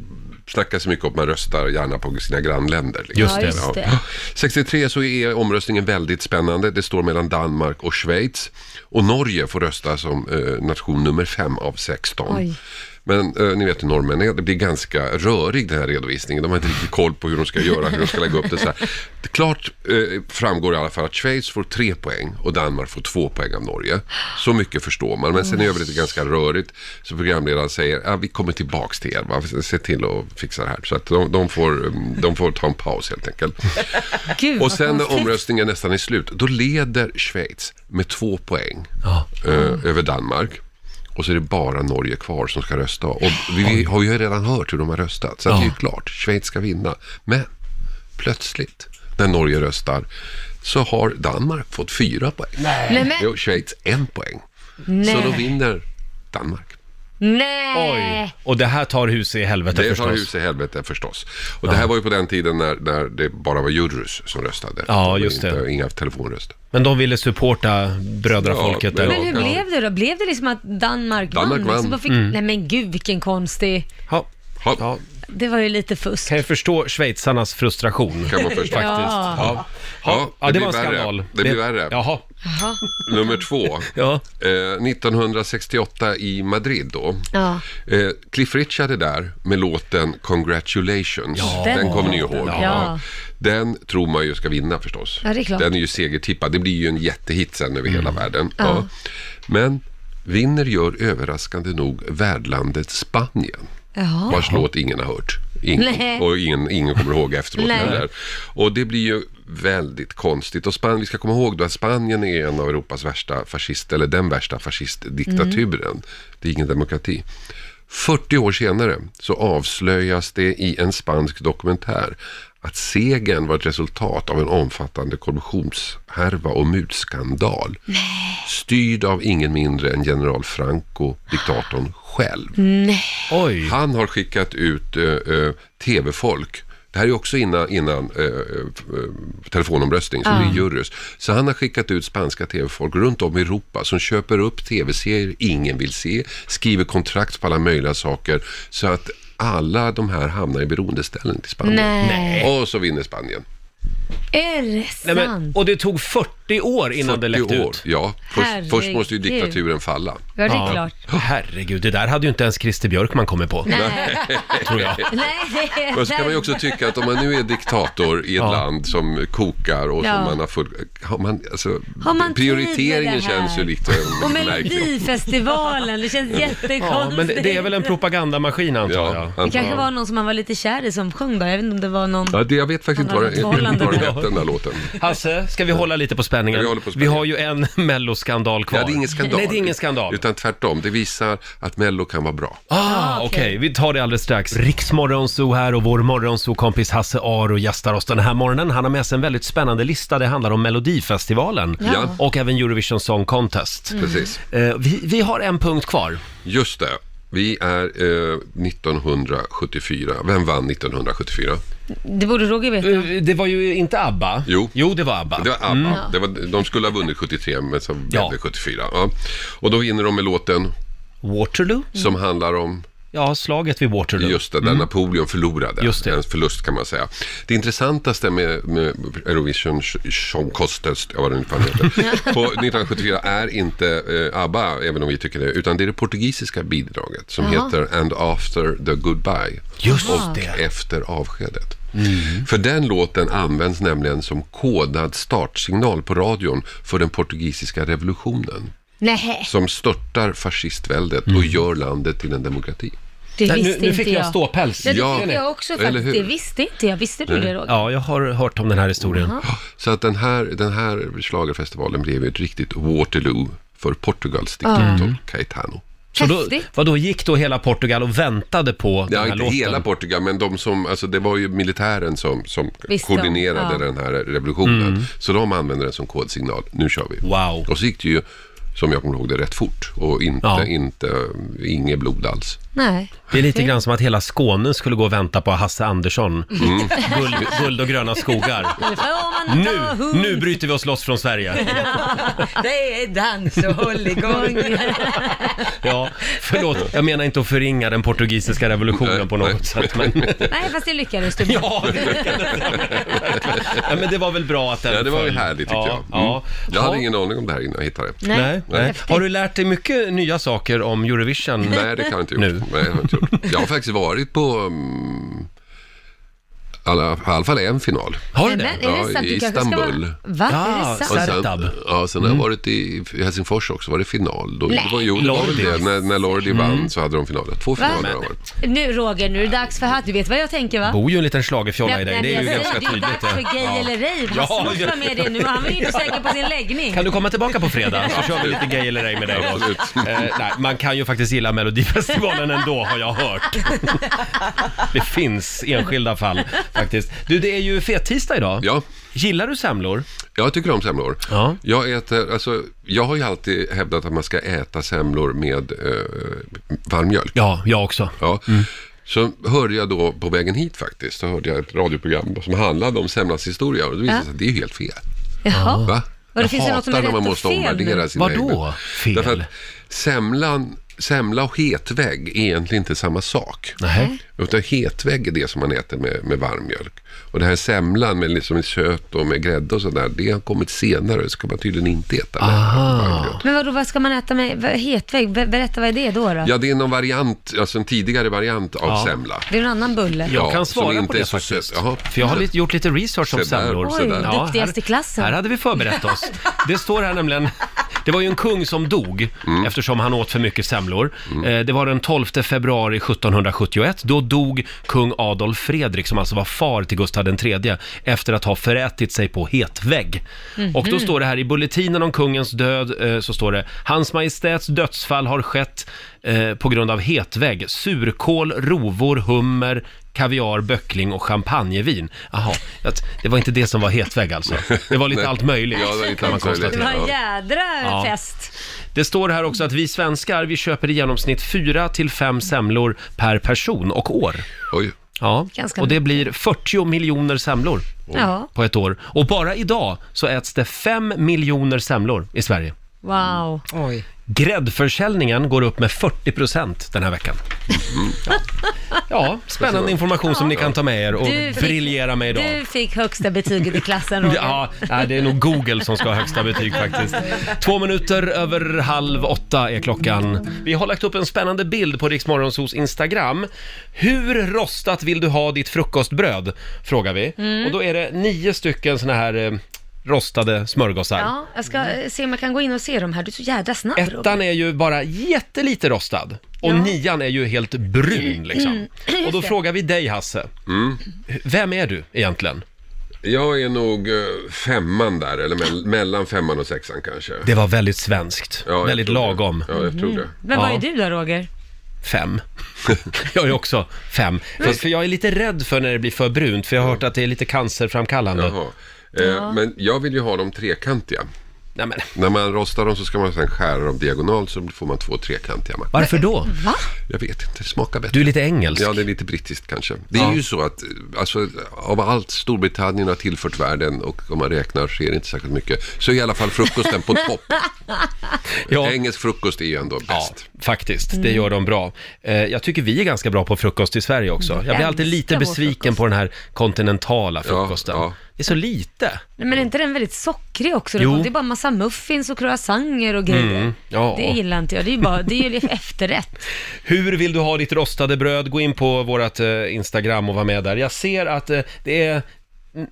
snackas mycket om att man röstar gärna på sina grannländer. liksom.
Just
Ja,
det,
just
Ja.
det.
63 så är omröstningen väldigt spännande. Det står mellan Danmark och Schweiz. Och Norge får rösta som eh, nation nummer 5 av 16.
Oj.
Men eh, ni vet hur norrmän är. Det blir ganska rörig den här redovisningen. De har inte riktigt koll på hur de ska göra, hur de ska lägga upp det. Så här. Det klart eh, framgår i alla fall att Schweiz får tre poäng och Danmark får två poäng av Norge. Så mycket förstår man. Men sen i övrigt är det ganska rörigt. Så programledaren säger ah, vi kommer tillbaks till er. Va? Se till att fixa det här. Så att de, de, får, eh, de får ta en paus helt enkelt.
Gud,
Och
vad
sen när
konstigt.
omröstningen nästan är slut, då leder Schweiz med två poäng
Ja.
eh, över Danmark. Och så är det bara Norge kvar som ska rösta. Och vi, vi har ju redan hört hur de har röstat, så att det är ju klart, Schweiz ska vinna. Men plötsligt, när Norge röstar, så har Danmark fått fyra poäng.
Nej men,
Jo, Schweiz en poäng. Så då
nej.
vinner Danmark.
Nej.
Oj, och det här tar huset i helvete
Det tar
förstås.
hus i helvete förstås. Och det här var ju på den tiden när, när det bara var jurys som röstade.
Ja, just
inte,
det.
Inga telefonröster.
Men de ville supporta brödrafolket
Ja,
där.
men-
Men hur
Ja.
blev det då? Blev det liksom att
Danmark
Danmark, vann? Liksom,
vann.
då fick, Nej men gud vilken konstig...
Ja.
Ha.
Ja,
Det var ju lite fusk.
kan jag förstå schweizarnas frustration.
kan man förstå.
Faktiskt.
Ja,
Ja, det,
blir
var en
värre.
skandal.
Det blir värre.
Jaha.
Nummer två.
Ja.
Eh, 1968 i Madrid då.
Ja.
Eh, Cliff Richard är där med låten Congratulations. den,
Den
kommer ni
låten.
ihåg.
Ja.
Den tror man ju ska vinna förstås.
Ja, det är klart. Mm.
Den är ju segertippad. Det blir ju en jättehit sen över hela världen. Ja. Men vinner gör överraskande nog värdlandet Spanien
Jaha.
vars låt ingen har hört. Ingen,
Nej.
och ingen, ingen kommer ihåg efteråt
Nej.
heller. Och det blir ju väldigt konstigt. Och Span, vi ska komma ihåg då att Spanien är en av Europas värsta fascist, eller den värsta fascistdiktaturen.
Mm.
Det är ingen demokrati. 40 år senare så avslöjas det i en spansk dokumentär att segern var ett resultat av en omfattande korruptionshärva och mutskandal. Styrd av ingen mindre än general Franco, diktatorn själv.
Oj.
Han har skickat ut eh, eh, tv-folk. Det här är ju också innan, innan eh, eh, telefonomröstning, så det är jurys. Så han har skickat ut spanska tv-folk runt om i Europa som köper upp tv-serier ingen vill se, skriver kontrakt på alla möjliga saker så att alla de här hamnar i beroendeställning till Spanien.
Nej.
Och så vinner Spanien.
Är det
Nej,
sant?
men, och det tog 40 40 år innan det läckte
40 år.
ut.
Ja, först, först måste ju
Herregud.
diktaturen falla.
Ja, det är klart.
Herregud, det där hade ju inte ens Christer Björkman kommit på.
Nej.
Tror jag.
Nej, det är
Men så kan man ju också tycka att om man nu är diktator i ett
Ja.
land som kokar och
Ja.
som man har full... Har man, alltså,
Har man tid med
prioriteringen
det här?
känns ju lite
Och
märklig.
Melodifestivalen, det känns jättekonstigt.
Ja, men det, det är väl en propagandamaskin antar jag.
Ja,
Det kanske
antagligen.
var någon som man var lite kär i som sjöng då. Jag vet inte om det var någon...
Ja, det, jag vet faktiskt inte vad den
Han hade ett
vad den
förhållande.
hette, den där låten.
Hasse, ska vi hålla lite på spänningen?
Ja, vi håller på spänningen.
har ju en melloskandal kvar.
Ja, det är ingen skandal.
Nej, det är ingen skandal.
Utan tvärtom, det visar att Mello kan vara bra.
Ah, okej. Vi tar det alldeles strax. Riksmorgonzoo här och vår morgonzoo-kompis Hasse Aro gästar oss den här morgonen. Han har med sig en väldigt spännande lista. Det handlar om Melodifestivalen
Ja.
och även Eurovision Song Contest.
Precis.
Eh, vi, vi har en punkt kvar.
Just det. Vi är eh, 1974. Vem vann 1974?
Det borde Roger veta.
Eh, Det var ju inte ABBA.
Jo.
Jo, det var ABBA. Mm.
Det var ABBA. Det var, de skulle ha vunnit 73, men så blev
Ja.
det 74. Ja. Och då vinner de med låten
Waterloo?
som handlar om
Ja, slaget vid Waterloo. Mm.
Just det, där Napoleon förlorade.
Just det.
En förlust kan man säga. Det intressantaste med, med Eurovision Sh- Song Contest, ja, vad den nu fan heter, på 1974 är inte eh, ABBA, även om vi tycker det, utan det är det portugisiska bidraget som heter And after the goodbye.
Just
och
det.
efter avskedet. För den låten används nämligen som kodad startsignal på radion för den portugisiska revolutionen
Nej,
som störtar fascistväldet och gör landet till en demokrati.
det
Nej,
visste
nu, nu
inte
fick jag
jag.
ståpäls.
Ja, det
Ja,
fick jag också
eller
faktiskt. Det
hur?
visste inte jag. Visste du det Roger?
Ja, jag har hört om den här historien.
Så att den här, den här schlagerfestivalen blev ju ett riktigt Waterloo för Portugals diktator Caetano.
Så då,
Häftigt.
vadå, gick då hela Portugal och väntade på den
Ja,
här
inte
låten?
hela Portugal, men de som, alltså det var ju militären som, som
Visst,
koordinerade
ja.
den här revolutionen. Så de använde den som kodsignal. Nu kör vi.
Mm. Wow.
Och så gick det ju, som jag kommer ihåg det, rätt fort. Och inte,
Ja.
inte, eh, inget blod alls.
Nej.
Det är lite grann som att hela Skåne skulle gå och vänta på Hasse Andersson.
Mm.
Guld, guld och gröna skogar. Nu, nu bryter vi oss loss från Sverige.
Det är dans och hålligång.
Ja, förlåt, jag menar inte att förringa den portugisiska revolutionen på något sätt. Men,
Nej, fast det lyckades du med.
ja, det lyckades jag verkligen. ja, men det var väl bra att den
Ja, det var ju
föll.
härligt tycker
ja,
jag. Mm.
Ja.
Jag hade
Ja.
ingen aning om det här innan jag hittade det.
Nej.
Nej, nej.
Häftigt.
Har du lärt dig mycket nya saker om Eurovision?
Nej, det kan jag inte gjort.
Nu.
Nej, det har jag, inte gjort. jag har faktiskt varit på mm, alla, i alla fall en final.
Har du
Men,
det?
är det
Ja,
sant?
i
Du kanske ska
Istanbul.
vara... Va?
Ja,
är det
så
sant?
här- Zertab.
Ah, ja, sen har
Mm.
jag varit i Helsingfors också, var det final då? Det var, jo, det var
Lordi. Mm.
det. När, när Lordi vann så hade de finaler. Två finaler har det varit.
Nu Roger, nu är det dags för hatt. Du vet vad jag tänker va?
bor ju en liten schlagerfjolla i dig, det är ju
jag
ganska
säger att
tydligt.
Det är dags
ja.
för gay
Ja.
eller rave.
Ja,
Hasse måste
ja.
vara med i det nu. Han är ju inte säker på sin läggning.
Kan du komma tillbaka på fredag så kör vi lite gay eller ej med dig då.
Absolut.
Eh, nej, man kan ju faktiskt gilla Melodifestivalen ändå har jag hört. Det finns enskilda fall faktiskt. Du, det är ju fettisdag idag.
Ja,
Gillar du semlor?
jag tycker om semlor.
Ja.
Jag, äter, alltså, jag har ju alltid hävdat att man ska äta semlor med eh, varm mjölk.
Ja, jag också. Mm.
Ja. Så hörde jag då på vägen hit faktiskt, så hörde jag ett radioprogram som handlade om semlans historia och då visade det sig att det är ju helt fel.
Jaha.
Va?
Och det
jag
finns ju något som
hatar
är
när
rätt
man
och
måste
fel
omvärdera
nu.
sina
Vadå
egna.
fel?
Därför att semlan, semla och hetvägg är egentligen inte samma sak.
Nej.
Utan hetvägg är det som man äter med, med varm mjölk. Och det här semlan med liksom söt och med grädde och sådär, det har kommit senare. Det ska man tydligen inte äta med varm mjölk.
Men vadå, vad ska man äta med vad- hetvägg? Ber- Berätta, vad är det då? då?
Ja, det är någon variant, alltså en tidigare variant av
Ja.
semla.
Det är en annan bulle.
Jag
Ja,
kan
som
svara
inte
på
är
det
så
faktiskt.
söt. Jaha.
För jag har lite, gjort lite research om
Se där,
semlor.
se där.
Ja,
Duktigast i klassen.
Här hade vi förberett oss. Det står här nämligen, det var ju en kung som dog eftersom han åt för mycket semlor. Eh, Det var den 12 februari 1771. Då dog kung Adolf Fredrik, som alltså var far till Gustav III, efter att ha förätit sig på hetvägg. Och
Mhm.
då står det här i bulletinen om kungens död, eh, så står det Hans Majestäts dödsfall har skett eh, på grund av hetvägg, surkål, rovor, hummer, kaviar, böckling och champagnevin. Jaha, att- det var inte det som var hetvägg alltså. Det var lite
Nej.
allt möjligt.
Ja, det var lite
kan man
allt möjligt.
konstatera.
Det var en
Ja.
jädra
Ja.
fest.
Det står här också att vi svenskar, vi köper i genomsnitt fyra till fem semlor per person och år.
Oj.
Ja,
Ganska
och det
mycket.
blir 40 miljoner semlor
Ja.
på ett år. Och bara idag så äts det 5 miljoner semlor i Sverige.
Wow.
Oj.
Gräddförsäljningen går upp med 40 procent den här veckan. Ja. Ja, spännande information som ni kan ta med er och
Du fick-
briljera med idag.
Du fick högsta betyget i klassen, Roger.
Ja, nej, det är nog Google som ska ha högsta betyg faktiskt. Två minuter över halv åtta är klockan. Vi har lagt upp en spännande bild på Riksmorgonsos Instagram. Hur rostat vill du ha ditt frukostbröd? Frågar vi.
Mm.
Och då är det nio stycken såna här eh, rostade smörgåsar.
Ja, jag ska eh, se om jag kan gå in och se dem här. Du är så jädra snabb, Roger.
Ettan är ju bara jättelite rostad och
Ja. Mm.
nian är ju helt brun liksom. Och då
det.
frågar vi dig Hasse,
Mm.
vem är du egentligen?
Jag är nog eh, femman där, eller mell- mellan femman och sexan kanske.
Det var väldigt svenskt,
Ja, jag
väldigt
tror det.
lagom.
Ja, jag tror det.
Mm. Men vad
Ja.
är du då, Roger?
Fem. jag är också fem.
Mm.
För, för jag är lite rädd för när det blir för brunt, för jag har hört att det är lite cancerframkallande.
Jaha. Eh, Men jag vill ju ha dem trekantiga.
Nej, men,
När man rostar dem så ska man sen skära dem diagonalt så får man två trekantiga. mackor.
varför då?
Jag vet inte, det smakar bättre.
Du är lite engelsk.
Ja, det är lite brittiskt kanske. Det är
Ja.
ju så att eh, alltså, av allt Storbritannien har tillfört världen och om man räknar så är det inte särskilt mycket. Så är i alla fall frukosten på topp.
Ja,
Engelsk frukost är ju ändå
ja,
bäst.
faktiskt. Det gör de bra. Eh, jag tycker vi är ganska bra på frukost i Sverige också. Jag blir alltid lite
Älskar vår
besviken
frukost.
på den här kontinentala frukosten.
ja.
Det är så lite.
Nej, men är inte den väldigt sockrig också?
Jo. Mm.
Det är bara massa muffins och croissanter och grejer.
ja.
Det gillar inte jag. Det är ju, bara, det är ju efterrätt.
Hur vill du ha ditt rostade bröd? Gå in på vårt eh, Instagram och var med där. Jag ser att eh, det är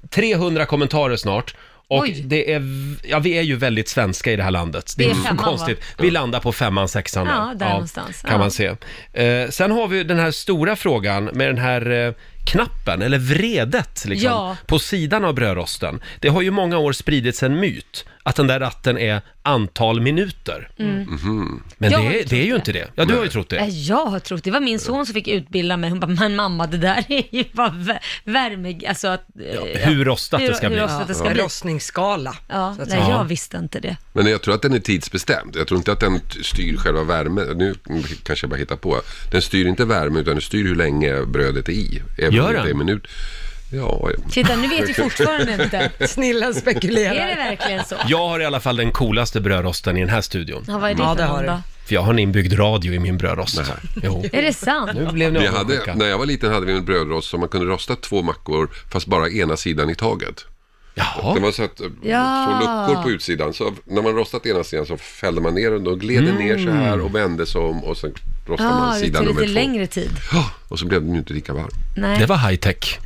300 kommentarer snart. Och
Oj.
det är, v- ja, vi är ju väldigt svenska i det här landet. Det är,
Det är femman,
konstigt. Vi landar på femman, sexan.
Ja, där någonstans.
Kan
Ja.
man se. Eh, sen har vi den här stora frågan med den här eh, knappen, eller vredet liksom,
Ja.
på sidan av brödrosten. Det har ju många år spridits en myt att den där ratten är antal minuter.
Mm.
Mhm. Men
Mm. Jag
det
har ju
är, det är ju
trott
inte det. Ja, du har ju trott det.
Nej, Äh, Jag har trott, det var min son som fick utbilda mig. Hon bara, men mamma det där är ju bara vä- värme, alltså att... Ja,
hur rostat det ska
hur
bli.
rostat det ska bli.
Rostningsskala.
Ja,
så att
nej,
säga.
jag visste inte det.
Men jag tror att den är tidsbestämd. Jag tror inte att den t- styr själva värmen. Nu kanske jag bara hittar på. Den styr inte värme utan den styr hur länge brödet är i. Även
Gör
om det
den?
är en minut. Ja, ja.
Titta, nu vet vi fortfarande inte.
Snillen
Är det
spekulerar.
verkligen så?
Jag har i alla fall den coolaste brödrosten i den här studion.
Ja, vad är det
Ja,
för
det har
någon
du.
då?
För jag har en inbyggd radio i min brödrost.
Nej.
Jo.
Är det sant?
Nu blev ni
Vi
avundsjuka.
hade, när jag var liten hade vi en brödrost som man kunde rosta två mackor fast bara ena sidan i taget. Den
Jaha.
var så att eh,
Ja.
två luckor på utsidan. Så när man rostat ena sidan så fällde man ner den och gled den ner så här och vände sig om och sen rostade
Mm. Ja,
man
det
sidan
tog
nummer två.
lite längre tid.
Ja, Och så blev den ju inte lika varm.
Nej.
Det var high tech.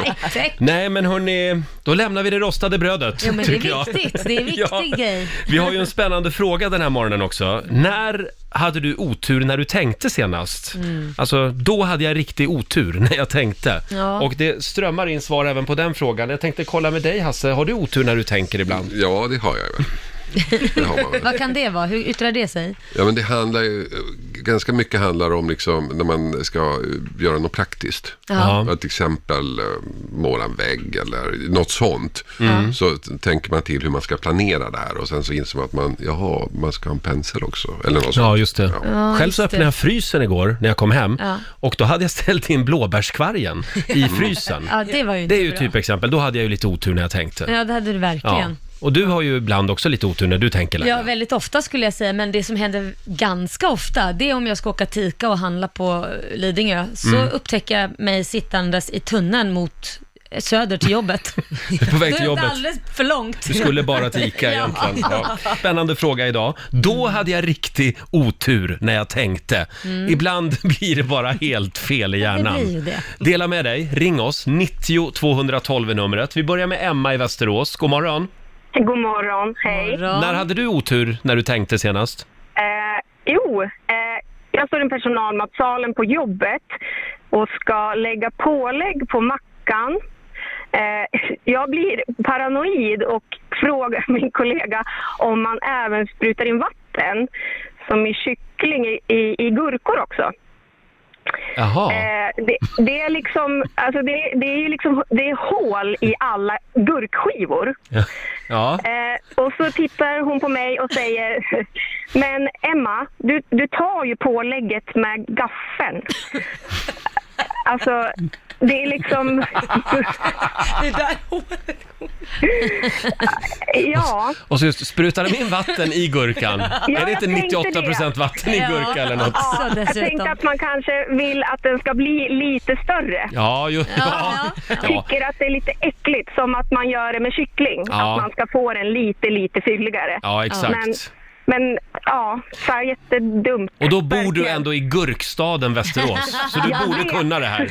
High-tech.
Nej, men hörni, då lämnar vi det rostade brödet.
Ja, men det
tycker
är
jag.
viktigt. Det är en viktig grej.
Vi har ju en spännande fråga den här morgonen också. När hade du otur när du tänkte senast?
Mm.
Alltså, då hade jag riktig otur när jag tänkte.
Ja.
Och det strömmar in svar även på den frågan. Jag tänkte kolla med dig Hasse, har du otur när du tänker ibland?
Ja, det har jag väl. Det har man väl.
Vad kan det vara? Hur yttrar det sig?
Ja, men det handlar ju, ganska mycket handlar om liksom när man ska eh, göra något praktiskt.
Ja.
Ja, till exempel eh, måla en vägg eller något sånt. Så t- tänker man till hur man ska planera det här och sen så inser man att man, jaha, man ska ha en pensel också. Eller något
Ja,
sånt.
just det.
Ja,
Själv
just
så öppnade
det.
jag frysen igår när jag kom hem
Ja.
och då hade jag ställt in blåbärskvargen i
Mm.
frysen.
Ja, det var ju
Det
inte
är ju
bra.
typexempel. Då hade jag ju lite otur när jag tänkte.
Ja, det hade du
Ja.
verkligen.
Och du har ju ibland också lite otur när du tänker
Ja.
länge.
väldigt ofta skulle jag säga, men det som händer ganska ofta, det är om jag ska åka till Ica och handla på eh, Lidingö, så
Mm.
upptäcker jag mig sittandes i tunneln mot eh, söder till jobbet.
På
Då
väg till
är det
jobbet.
alldeles för långt.
Du skulle bara till Ica egentligen. Ja. Spännande fråga idag. Då hade jag riktig otur när jag tänkte. Ibland blir det bara helt fel i hjärnan.
blir ju det.
Dela med dig. Ring oss. 90 212 är numret. Vi börjar med Emma i Västerås. God morgon.
God morgon, hej.
Bra.
När hade du otur när du tänkte senast?
Eh, jo, eh, jag står i personalmatsalen på jobbet och ska lägga pålägg på mackan. Eh, jag blir paranoid och frågar min kollega om man även sprutar in vatten, som i kyckling, i, i, i gurkor också.
Jaha.
Eh, det, det är liksom, alltså det, det är ju liksom, det är hål i alla gurkskivor.
Ja.
Eh, och så tittar hon på mig och säger Men Emma, du, du tar ju pålägget med gaffeln. Alltså, det är liksom...
Det där håret.
Ja,
Och så just sprutar de in vatten i gurkan. är det inte
jag tänkte
98 procent vatten i
Ja.
gurka eller något?
Ja.
ja, jag
dessutom.
tänkte att man kanske vill att den ska bli lite större.
Ja, ju, ja. ja.
Tycker att det är lite äckligt, som att man gör det med kyckling.
Ja.
Att man ska få den lite, lite fylligare.
Ja, exakt.
Men, men ja, så här jättedumt.
Och då bor du
Verkligen.
ändå i gurkstaden Västerås, så du
Jag
borde
vet.
kunna det här.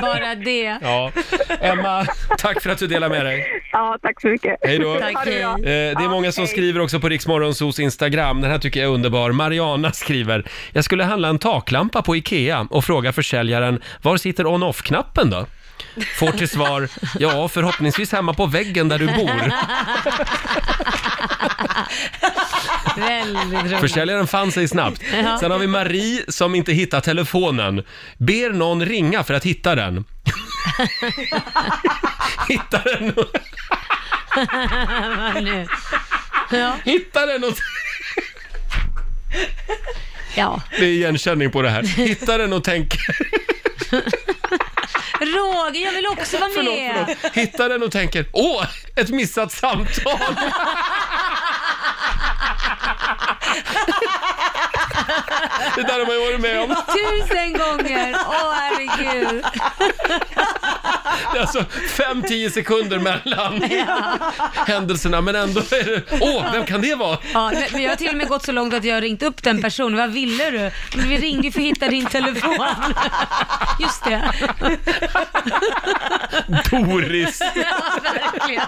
Bara det.
Ja. Emma, tack för att du delar med dig.
Ja, tack så mycket.
Hej då.
Tack,
Ha det bra.
Eh, det är många som
Okej.
skriver också på Riksmorgonsos Instagram. Den här tycker jag är underbar. Mariana skriver, jag skulle handla en taklampa på Ikea och fråga försäljaren, var sitter on-off-knappen då? Får till svar, ja förhoppningsvis hemma på väggen där du bor.
Väldigt roligt.
Försäljaren fann sig snabbt.
Ja.
Sen har vi Marie som inte hittar telefonen. Ber någon ringa för att hitta den. hittar den,
Ja, nu. Ja,
hittar den och...
ja.
Det är igenkänning på det här. Hittar den och tänker...
Roger, jag vill också vara med.
Hittar den och tänker, åh, ett missat samtal! Det där har man ju varit med om.
Tusen gånger. Åh, herregud.
Det är alltså 5-10 sekunder mellan händelserna, men ändå är det, åh, vem kan det vara?
Ja, nej, men jag har till och med gått så långt att jag har ringt upp den personen. Vad ville du? Men vi ringde ju för att hitta din telefon. Just det.
Doris!
Ja, verkligen.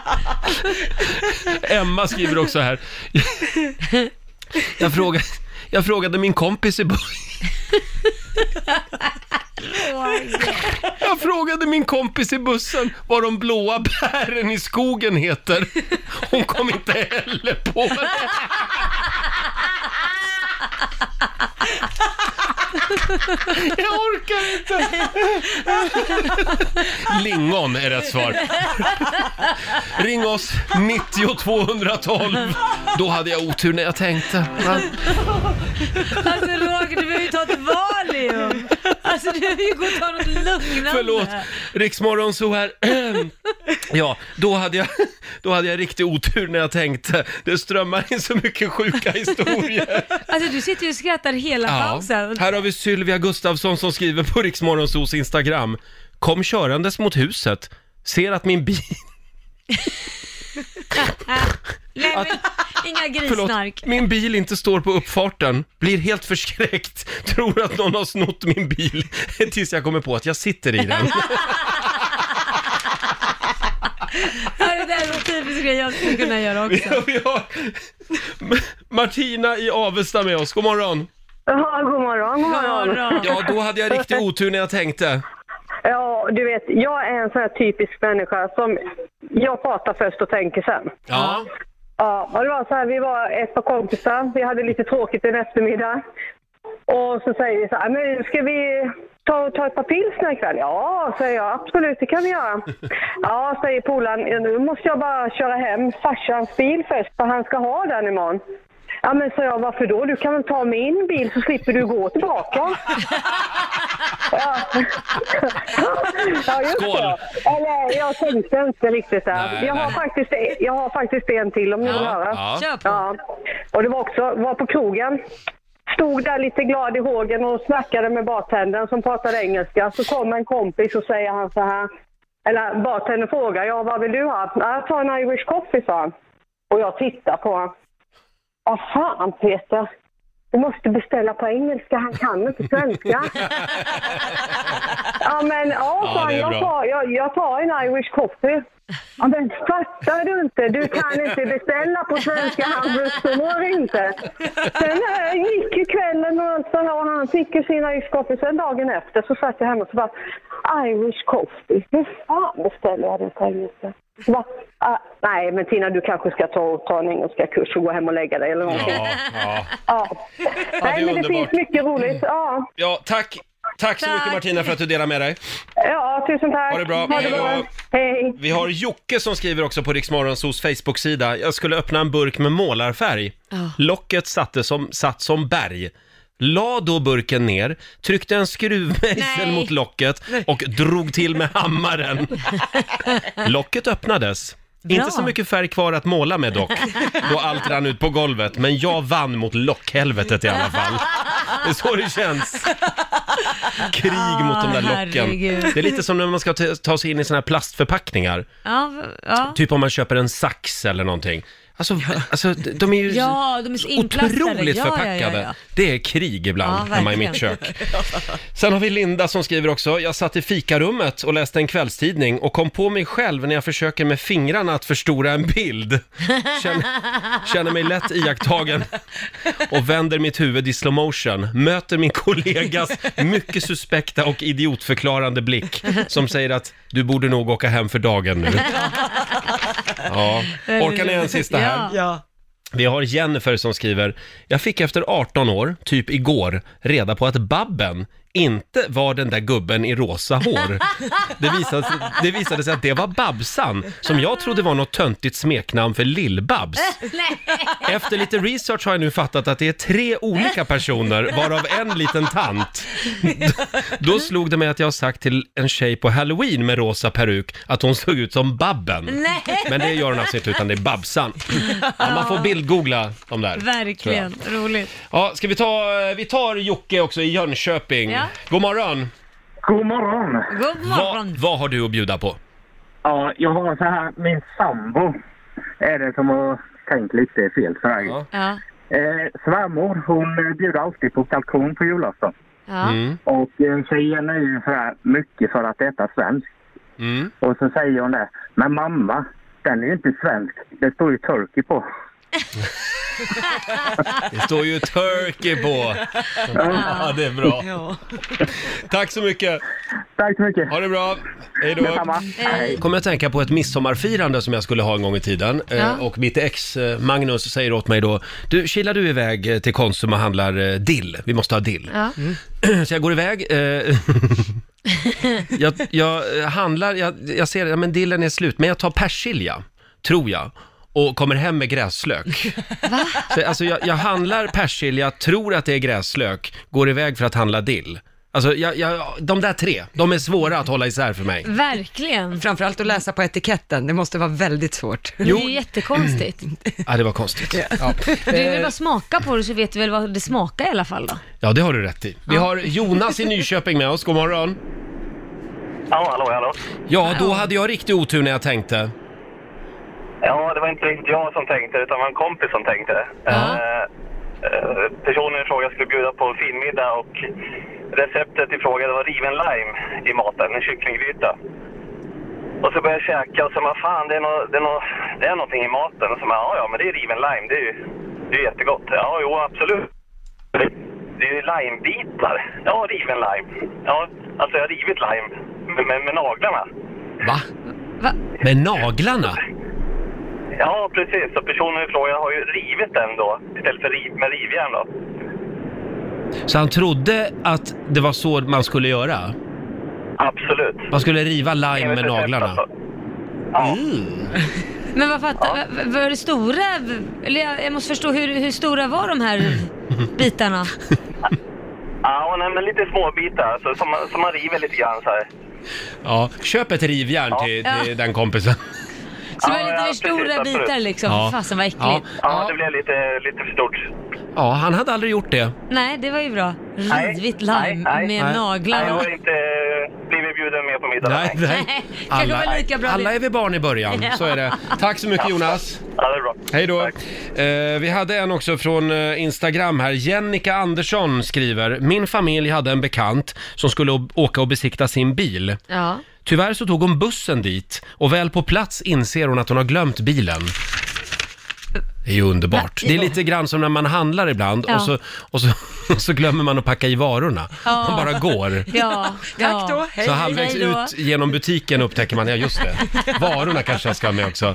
Emma skriver också här. Jag frågade, jag frågade min kompis i början.
Roger.
Jag frågade min kompis i bussen vad de blåa bären i skogen heter. Hon kom inte heller på det. Jag orkar inte! Lingon är rätt svar. Ring oss, 90 212. Då hade jag otur när jag tänkte.
Alltså Roger, du behöver ju ta ett Valium. Alltså du behöver ju gå och ta något lugnande.
Förlåt, Riksmorgon så här. Ja, då hade, jag, då hade jag riktig otur när jag tänkte. Det strömmar in så mycket sjuka historier.
Alltså du sitter ju och skrattar hela
Ja.
pausen.
Här har vi Sylvia Gustafsson som skriver på Riksmorgonsos Instagram. Kom körandes mot huset, ser att min bil...
Nej, men, inga
Förlåt,
grissnark.
min bil inte står på uppfarten. Blir helt förskräckt, tror att någon har snott min bil. Tills jag kommer på att jag sitter i den.
Ja, Det där är en typisk grej jag skulle kunna göra också.
Ja, vi har Martina i Avesta med oss, god morgon.
Ja, god morgon, god morgon.
Bra.
Ja, då hade jag riktig otur när jag tänkte.
Ja, du vet, jag är en sån här typisk människa som jag pratar först och tänker sen.
Ja.
Ja, och det var så här, vi var ett par kompisar, vi hade lite tråkigt en eftermiddag. Och så säger vi så här, men ska vi ta, ta ett par pilsner ikväll? Ja, säger jag, absolut, det kan vi göra. Ja, säger polaren, "Ja, nu måste jag bara köra hem farsans bil först, för han ska ha den imorgon. Ja, men sa jag, varför då? Du kan väl ta min bil så slipper du gå tillbaka. Ja. Ja, just
Skål.
det. Eller jag tänkte inte riktigt
Nej,
där. Jag har,
Eh, nej.
faktiskt, jag har faktiskt en till om ni vill höra.
Ja.
Kör på.
Ja, och det var också, var på krogen. Stod där lite glad i hågen och snackade med bartendern som pratade engelska. Så kom en kompis och säger han så här. Eller bartendern frågar, ja vad vill du ha? "Ja, Jag tar en Irish coffee, sa han. Och jag tittar på honom. Vad fan Peter, du måste beställa på engelska, han kan inte svenska. ja men ja,
Ja,
sa han,
det är
jag,
bra.
tar, jag, jag tar en Irish coffee. Ja, men fattar du inte? Du kan inte beställa på svenska, han förstår inte. Sen eh, gick ju kvällen och allt sådär och han fick ju sin Irish coffee. Sen dagen efter så satt jag hemma och så bara, Irish coffee, hur fan beställer jag den på engelska? Så bara, "Ah, nej men Tina du kanske ska ta, ta en engelska kurs och gå hem och lägga dig eller någonting.
Ja, ja.
Ja.
det
Nej
är
men det
underbart. Mm.
finns mycket roligt. Ja,
ja tack. Tack så mycket Martina för att du delar med dig.
ja tusen tack.
Ha det bra. Hej då.
Hej.
Vi har Jocke som skriver också på Riksmorgonsos Facebook-sida. Jag skulle öppna en burk med målarfärg. Locket satte som, satt som berg. La då burken ner, tryckte en skruvmejsel
Nej.
mot locket och drog till med hammaren. Locket öppnades. Inte så mycket färg kvar att måla med dock, då allt rann ut på golvet. Men jag vann mot lockhelvetet i alla fall. Det är så det känns. Krig mot de där locken.
Ah, herregud.
Det är lite som när man ska ta- ta sig in i såna här plastförpackningar.
Ja, v- ja.
Typ om man köper en sax eller någonting. Alltså, alltså d- de är ju
Ja, de är så inplastade.
otroligt
Ja, ja, ja,
förpackade.
ja.
Det är krig
Ja,
ibland hemma i
verkligen.
mitt kök. Sen har vi Linda som skriver också, jag satt i fikarummet och läste en kvällstidning och kom på mig själv när jag försöker med fingrarna att förstora en bild. Känner, känner mig lätt iakttagen och vänder mitt huvud i slow motion. Möter min kollegas mycket suspekta och idiotförklarande blick som säger att du borde nog åka hem för dagen nu. Ja. Orkar ni en sista här?
Ja.
Ja.
Vi har Jennifer som skriver, jag fick efter 18 år, typ igår, reda på att Babben inte var den där gubben i rosa hår. Det visade, det visade sig att det var Babsan, som jag trodde var något töntigt smeknamn för Lill-Babs. Efter lite research har jag nu fattat att det är tre olika personer, varav en liten tant. Då slog det mig att jag har sagt till en tjej på halloween med rosa peruk att hon såg ut som Babben.
Nej.
Men det gör hon alltså inte, utan det är Babsan. Ja, man får bildgoogla de där. tror jag.
Verkligen, roligt.
Ja, ska vi ta, vi tar Jocke också i Jönköping.
Ja.
God morgon!
God morgon!
God
Va,
morgon.
vad har du att bjuda på?
Ja, jag har så här, min sambo är det som har tänkt lite fel sådär.
Ja.
Ja,
Eh, svärmor, hon eh, bjuder alltid på kalkon på julafton.
ja.
Mm,
Och eh, tjejen är ju sådär mycket för att äta svenskt.
mm.
Och så säger hon det, men mamma, den är ju inte svensk, det står ju turkey på.
Det står ju Turkey på. Ja, det är bra.
Ja.
Tack så mycket!
Tack så mycket!
Ha det bra! Hej då!
Detsamma! Hej!
kommer jag tänka på ett midsommarfirande som jag skulle ha en gång i tiden. Eh,
Ja.
Och mitt ex eh, Magnus säger åt mig då, du kilar du iväg eh, till Konsum och handlar eh, dill, vi måste ha dill.
Ja.
Så Mm. jag går iväg. Eh, jag, jag eh, handlar, jag, jag ser, ja, men dillen är slut, men jag tar persilja, tror jag. Och kommer hem med gräslök. Så, alltså jag, jag handlar persilja, tror att det är gräslök, går iväg för att handla dill. Alltså jag, jag, de där tre, de är svåra att hålla isär för mig.
Verkligen.
Framförallt att läsa på etiketten, det måste vara väldigt svårt.
Det är ju
Mm.
jättekonstigt.
Ja, det var konstigt.
Du
Eh.
vill bara smaka på det så vet du väl vad det smakar i alla fall då?
Ja, det har du rätt i. Vi har Jonas i Nyköping med oss, god morgon.
Ja, hallå, hallå!
Ja, då hade jag riktig otur när jag tänkte.
Ja, det var inte riktigt jag som tänkte det, utan det var en kompis som tänkte det.
Ja.
Eh, eh, personen i fråga skulle bjuda på en fin middag och receptet i fråga det var riven lime i maten, en kycklinggryta. Och så började jag käka och så bara fan det är, nå det, är nå det är någonting i maten. Och så bara ja, ja men det är riven lime, det är ju det är jättegott. Ja, jo absolut. Det är ju limebitar. Ja, riven lime. Ja, alltså jag har rivit lime med, med, med naglarna.
Va?
Va?
Med naglarna?
Ja, precis. Så personen i fråga har ju rivit den då, istället för riv, med rivjärn då.
Så han trodde att det var så man skulle göra?
Absolut.
Man skulle riva lime med
Enligt recept,
naglarna?
alltså. Ja.
Men vad fattar, ja. var det stora? Eller jag, jag måste förstå, hur, hur stora var de här bitarna?
ja, nej, men lite småbitar så, som, man- som man river lite grann så här.
Ja, köp ett rivjärn till,
Ja.
till den kompisen.
Så det var
Ja,
lite
ja,
för
precis,
stora
absolut.
bitar liksom.
Ja.
Fasen vad
Ja.
äckligt.
Ja, det blev lite, lite för stort.
ja, han hade aldrig gjort det.
Nej, det var ju bra.
Nej,
Rivit
nej,
lime
nej,
nej.
med
Nej,
naglar.
jag
och-
har inte blivit bjuden med på middag.
Nej, nej.
Nej, kanske
Alla,
var lika bra
alla
det.
är vi barn i början,
Ja.
så är det. Tack så mycket Jonas.
Ja, det är bra.
Hej då.
Tack.
Eh, vi hade en också från eh, Instagram här. Jennica Andersson skriver, min familj hade en bekant som skulle o- åka och besikta sin bil.
Ja.
Tyvärr så tog hon bussen dit och väl på plats inser hon att hon har glömt bilen. Det är ju underbart. Det är lite grann som när man handlar ibland
Ja.
och, så, och, så, och så glömmer man att packa i varorna.
Ja.
Man bara går.
Ja,
Tack då,
ja.
hej.
Så halvvägs
Hej då.
ut genom butiken upptäcker man, ja just det, varorna kanske jag ska ha med också.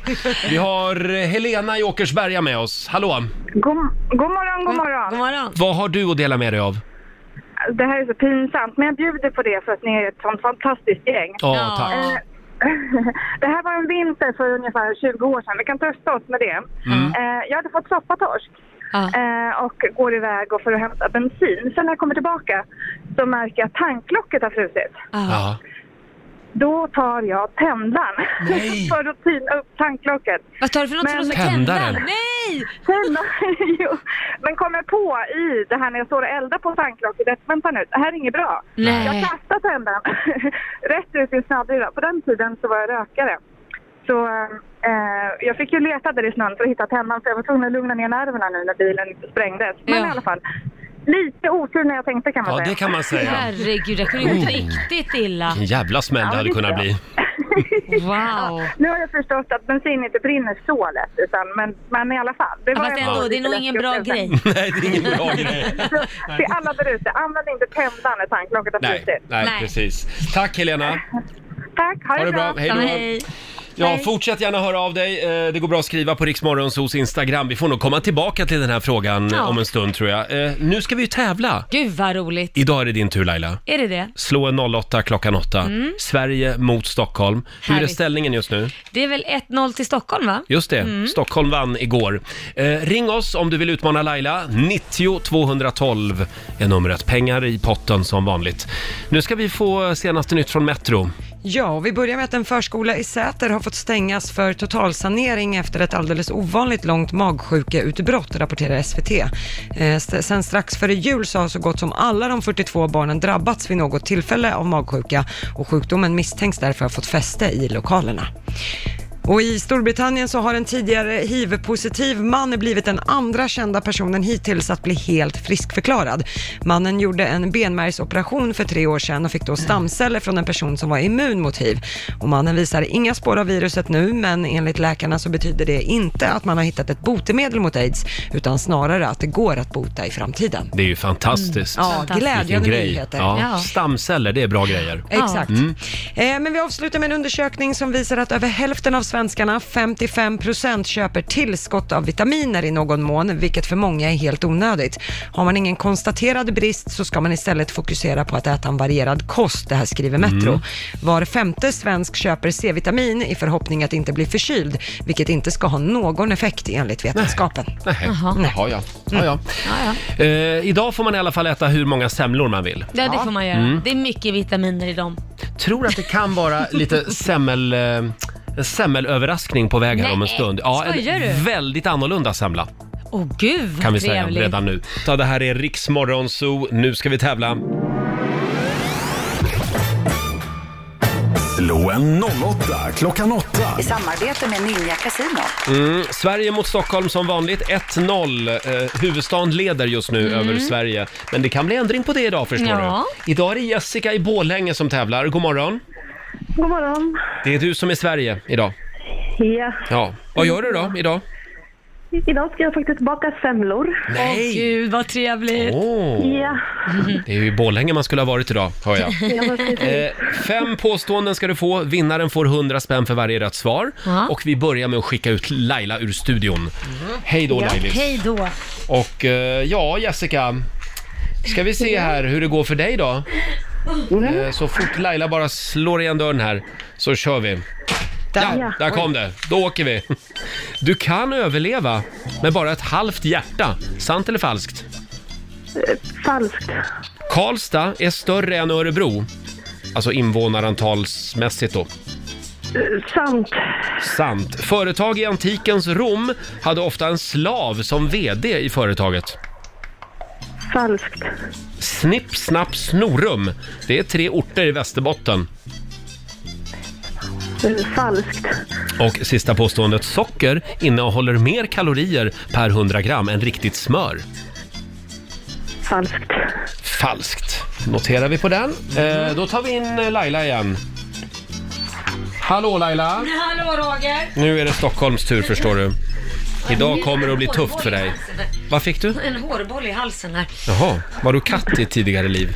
Vi har Helena i Åkersberga med oss. Hallå!
God, god morgon, god morgon.
God morgon.
Vad har du att dela med dig av?
Det här är så pinsamt, men jag bjuder på det för att ni är ett sånt fantastiskt gäng.
Ja, tack.
Eh, Det här var en vinter för ungefär 20 år sedan. Vi kan trösta oss med det.
Mm.
Eh, Jag hade fått soppatorsk
Ja.
eh, och går iväg och för att hämta bensin. Sen när jag kommer tillbaka så märker jag att tanklocket har frusit.
Ja.
Ja.
Då tar jag tändaren
Nej.
för att tina upp tanklocket.
Vad tar du för något som låter som Tändaren. tändaren? Nej!
jo. Men kommer på i det här när jag står och eldar på tanklocket att vänta nu, det här är inget bra.
Nej.
Jag kastar tändaren rätt ut i en snödriva. På den tiden så var jag rökare. Så eh, jag fick ju leta där i snön för att hitta tändaren för jag var tvungen att lugna ner nerverna nu när bilen sprängdes. Men i alla fall, lite otur när jag tänkte kan man
Ja,
säga.
det kan man säga.
Herregud, jag kunde gjort
Mm.
riktigt illa.
En jävla smäll det hade kunnat bli.
Wow!
Nu har jag förstått att bensin inte brinner så lätt, utan, men, men i alla fall. Det
Ja, fast
en
ändå,
lite
det är nog
läskig
ingen bra
upplevelse.
grej.
Nej, det är ingen bra grej.
Till alla där ute, använd inte tändaren när tanklocket har
Nej,
frusit.
nej, precis. Tack Helena.
Tack, ha,
Ha det bra. Hej då. Hej. Ja,
Hej.
fortsätt gärna höra av dig. Eh, Det går bra att skriva på Riksmorgonsos Instagram. Vi får nog komma tillbaka till den här frågan
Ja.
eh, om en stund tror jag. Eh, Nu ska vi ju tävla.
Gud vad roligt.
Idag är det din tur Laila.
Är det det?
Slå en 08 klockan 8.
Mm.
Sverige mot Stockholm. Hur är
Härligt.
ställningen just nu?
Det är väl 1-0 till Stockholm va?
Just det,
Mm.
Stockholm vann igår. Eh, ring oss om du vill utmana Laila. 90 212 är numret. Pengar i potten som vanligt. Nu ska vi få senaste nytt från Metro.
Ja, och vi börjar med att en förskola i Säter har fått stängas för totalsanering efter ett alldeles ovanligt långt magsjukeutbrott, rapporterar SVT. Eh, st- sen strax före jul så har så gott som alla de 42 barnen drabbats vid något tillfälle av magsjuka och sjukdomen misstänks därför ha fått fäste i lokalerna. Och i Storbritannien så har en tidigare hiv-positiv man blivit den andra kända personen hittills att bli helt friskförklarad. Mannen gjorde en benmärgsoperation för tre år sedan och fick då stamceller från en person som var immun mot hiv. Och mannen visar inga spår av viruset nu, men enligt läkarna så betyder det inte att man har hittat ett botemedel mot aids, utan snarare att det går att bota i framtiden.
Det är ju fantastiskt.
Mm. Ja, glädjande
Vilken grej.
nyheter.
Ja.
Ja.
Stamceller, det är bra grejer.
Exakt.
Mm.
Eh, men vi avslutar med en undersökning som visar att över hälften av svenskarna, 55 procent, köper tillskott av vitaminer i någon mån, vilket för många är helt onödigt. Har man ingen konstaterad brist så ska man istället fokusera på att äta en varierad kost, det här skriver Metro.
Mm.
Var femte svensk köper C-vitamin i förhoppning att inte bli förkyld, vilket inte ska ha någon effekt enligt vetenskapen.
Nej.
Jaha. Nej.
Ja, ja. Ja, ja.
Mm.
Eh, idag får man i alla fall äta hur många semlor man vill.
Ja, det får man göra.
Mm.
Det är mycket vitaminer i dem.
Tror att det kan vara lite semmel... eh, En semmelöverraskning på väg här om en
Nej,
stund. Ja,
skojar
en
du?
väldigt annorlunda semla.
Åh gud vad
kan vi säga
trevligt.
redan nu. Så det här är Riksmorgon Zoo. Nu ska vi tävla.
Slå en 08 klockan 8.
I samarbete med Ninja Casino.
Mm, Sverige mot Stockholm som vanligt. 1-0. Eh, huvudstaden leder just nu
Mm.
över Sverige. Men det kan bli ändring på det idag förstår
Ja.
du. Idag är det Jessica i Borlänge som tävlar. God morgon.
God morgon.
Det är du som är Sverige idag.
Ja.
Ja. Vad gör du då idag?
Idag ska jag faktiskt baka semlor.
Nej. Åh,
gud vad
Mm.
trevligt.
Åh.
Ja.
Det är ju i Borlänge man skulle ha varit idag, hör jag.
Ja, vad fint.
Eh, fem påståenden ska du få. Vinnaren får 100 spänn för varje rätt svar.
Ja.
Och vi börjar med att skicka ut Laila ur studion. Hej då Lailis.
Hej då.
Och eh, ja, Jessica. Ska vi se här hur det går för dig då? Eh, Så fort Laila bara slår igen dörren här så kör vi. Ja, där kom det. Då åker vi. Du kan överleva med bara ett halvt hjärta. Sant eller falskt? Eh.
Falskt.
Karlstad är större än Örebro. Alltså invånarantalsmässigt då.
Eh, Sant.
Sant. Företag i antikens Rom hade ofta en slav som VD i företaget.
Falskt.
Snipp, snapp, snorum. Det är tre orter i Västerbotten.
Eh, Falskt.
Och sista påståendet. Socker innehåller mer kalorier per 100 gram än riktigt smör.
Falskt.
Falskt. Noterar vi på den. Eh, då tar vi in eh, Laila igen. Hallå Laila!
Hallå Roger.
Nu är det Stockholms tur förstår du. Idag kommer det att bli tufft för dig. Vad fick du?
En hårboll i halsen här.
Jaha, var du katt i ett tidigare liv?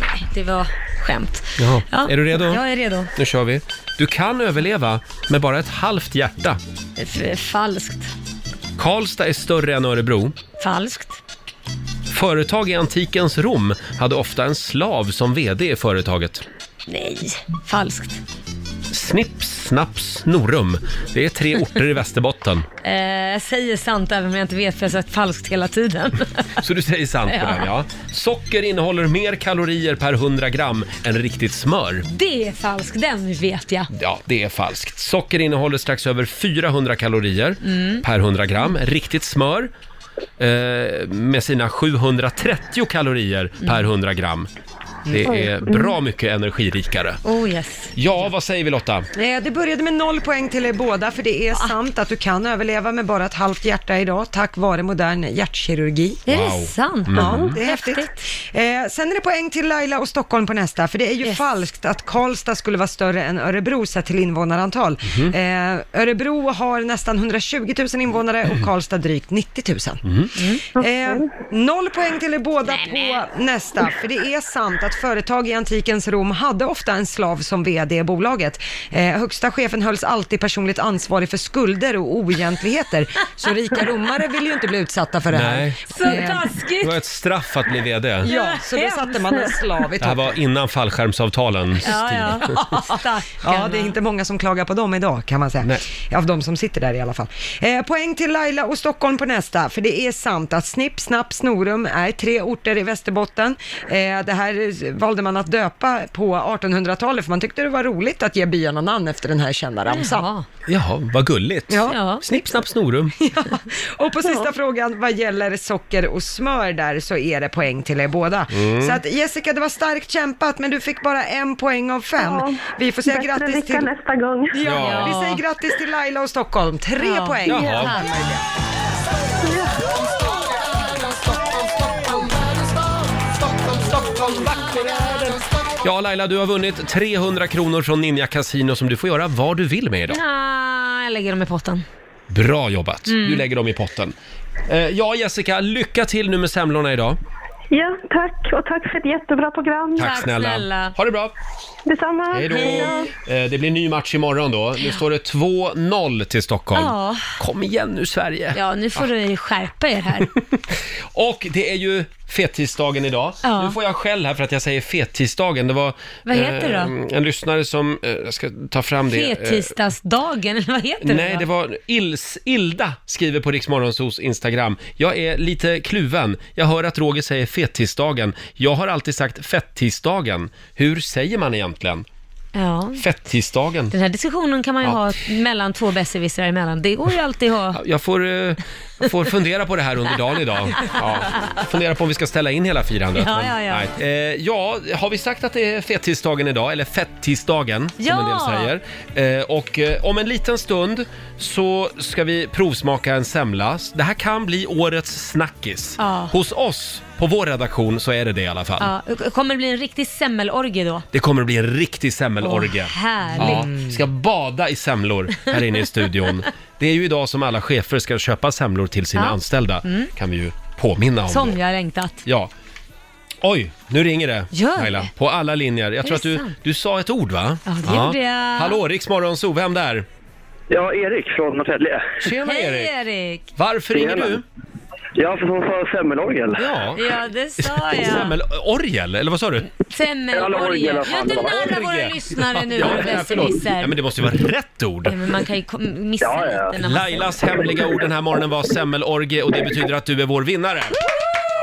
Nej, det var skämt.
Jaha.
Ja.
Är du redo?
Jag är redo.
Nu kör vi. Du kan överleva med bara ett halvt hjärta.
Eh, F- falskt.
Karlstad är större än Örebro.
Falskt.
Företag i antikens Rom hade ofta en slav som VD i företaget.
Nej. Falskt.
Snips, snaps, Norum. Det är tre orter i Västerbotten.
Eh, jag säger sant även om jag inte vet för jag har sagt falskt hela tiden.
Så du säger sant på
Ja.
den, ja. Socker innehåller mer kalorier per 100 gram än riktigt smör.
Det är falskt, den vet jag.
Ja, det är falskt. Socker innehåller strax över 400 kalorier
Mm.
per 100 gram. Riktigt smör eh, med sina 730 kalorier per 100 gram.
Oj. Mm.
Det är bra mycket energirikare.
Oh yes.
Ja, vad säger vi Lotta?
Eh, Det började med noll poäng till er båda, för det är sant att du kan överleva med bara ett halvt hjärta idag, tack vare modern hjärtkirurgi.
Är det Wow. sant?
Ja,
Mm.
det är häftigt. Eh, sen är det poäng till Laila och Stockholm på nästa, för det är ju falskt att Karlstad skulle vara större än Örebro sett till invånarantal.
Mhm.
Eh, Örebro har nästan 120 000 invånare och Karlstad drygt 90 000. Eh, noll poäng till er båda på nästa, för det är sant att företag i antikens Rom hade ofta en slav som vd i bolaget. Eh, högsta chefen hölls alltid personligt ansvarig för skulder och oegentligheter, så rika romare vill ju inte bli utsatta för det här.
Nej.
Så taskigt!
Det var ett straff att bli VD.
Eh. Ja, så då satte man en slav i
Det här
toppen.
var innan fallskärmsavtalens tid.
ja. ja, det är inte många som klagar på dem idag kan man säga. Av de som sitter där i alla fall. Eh, poäng till Laila och Stockholm på nästa, för det är sant att Snipp, Snapp, Snorum är tre orter i Västerbotten. Eh, det här valde man att döpa på 1800-talet, för man tyckte det var roligt att ge byarna namn efter den här kända ramsan.
Jaha, vad gulligt.
Ja.
Snipp, snapp, snorum.
Och på sista frågan vad gäller socker och smör där så är det poäng till er båda.
Mm.
Så att Jessica, det var starkt kämpat men du fick bara en poäng av fem. vi får säga
bättre
grattis
lycka
till...
nästa gång.
Ja,
Ja.
vi säger grattis till Laila och Stockholm. Tre
Ja.
poäng.
Jaha.
Tack.
Ja, Laila, du har vunnit 300 kronor från Ninja Casino som du får göra vad du vill med idag.
Nej, jag lägger dem i potten.
Bra jobbat!
Mm.
Du lägger dem i potten. Eh, Ja, Jessica, lycka till nu med semlorna idag.
Ja, tack. Och tack för ett jättebra program.
Tack, snälla. Ha det bra!
Detsamma.
Hej då! Eh, Det blir ny match imorgon då. Nu står det 2-0 till Stockholm.
Ja.
Kom igen nu Sverige!
Ja, nu får du skärpa er här.
Och det är ju fettisdagen idag.
Ja.
Nu får jag skäll här för att jag säger fettisdagen. Det var
Vad heter det då?
en lyssnare som, eh, jag ska ta fram det. eh,
Fettisdagsdagen, eller vad heter
Nej,
då?
det var Ils, Ilda skriver på Riksmorgonsos Instagram. Jag är lite kluven. Jag hör att Roger säger fettisdagen. Jag har alltid sagt fettisdagen. Hur säger man egentligen?
Ja.
Fettisdagen.
Den här diskussionen kan man ju
Ja.
ha mellan två besserwissrar emellan. Det går ju alltid att ha.
Jag får, eh, jag får fundera på det här under dagen idag. Ja. Fundera på om vi ska ställa in hela firandet.
Ja,
men
ja, ja.
nej. Eh, ja, har vi sagt att det är fettisdagen idag? Eller fettisdagen,
Ja!
som en del säger. Eh, och eh, om en liten stund så ska vi provsmaka en semla. Det här kan bli årets snackis.
Ja.
Hos oss, på vår redaktion, så är det det i alla fall.
Ja. Kommer det bli en riktig semmelorgie då?
Det kommer att bli en riktig semmelorgie.
Åh, härligt. Mm.
vi ska bada i semlor här inne i studion. Det är ju idag som alla chefer ska köpa semlor till sina
Ja.
anställda.
Mm.
Kan vi ju påminna om.
Som
då.
jag har längtat.
Ja. Oj, nu ringer det
Gör det?
Laila. På alla linjer. Jag
Är
tror
det
att du,
sant?
du sa ett ord va? Ja,
det gjorde jag.
Hallå, Riks Morgonzoo, vem där?
Ja, Erik från Norrtälje.
Tjena
Hej
Erik!
Erik!
Varför ringer
Tjena.
du?
Ja, för hon sa semmelorgel.
Ja.
Ja, det sa jag.
Semmelorgel, eller vad sa du?
Semmelorgie.
eller
Ja,
vad fan
du
det var.
narrar våra
Orgie.
lyssnare nu,
Ja,
vår
ja, förlåt.
besserwisser.
Ja, men det måste ju vara rätt ord.
Ja, men man kan ju kom- missa lite när man
Lailas hemliga ord den här morgonen var semmelorgie och det betyder att du är vår vinnare.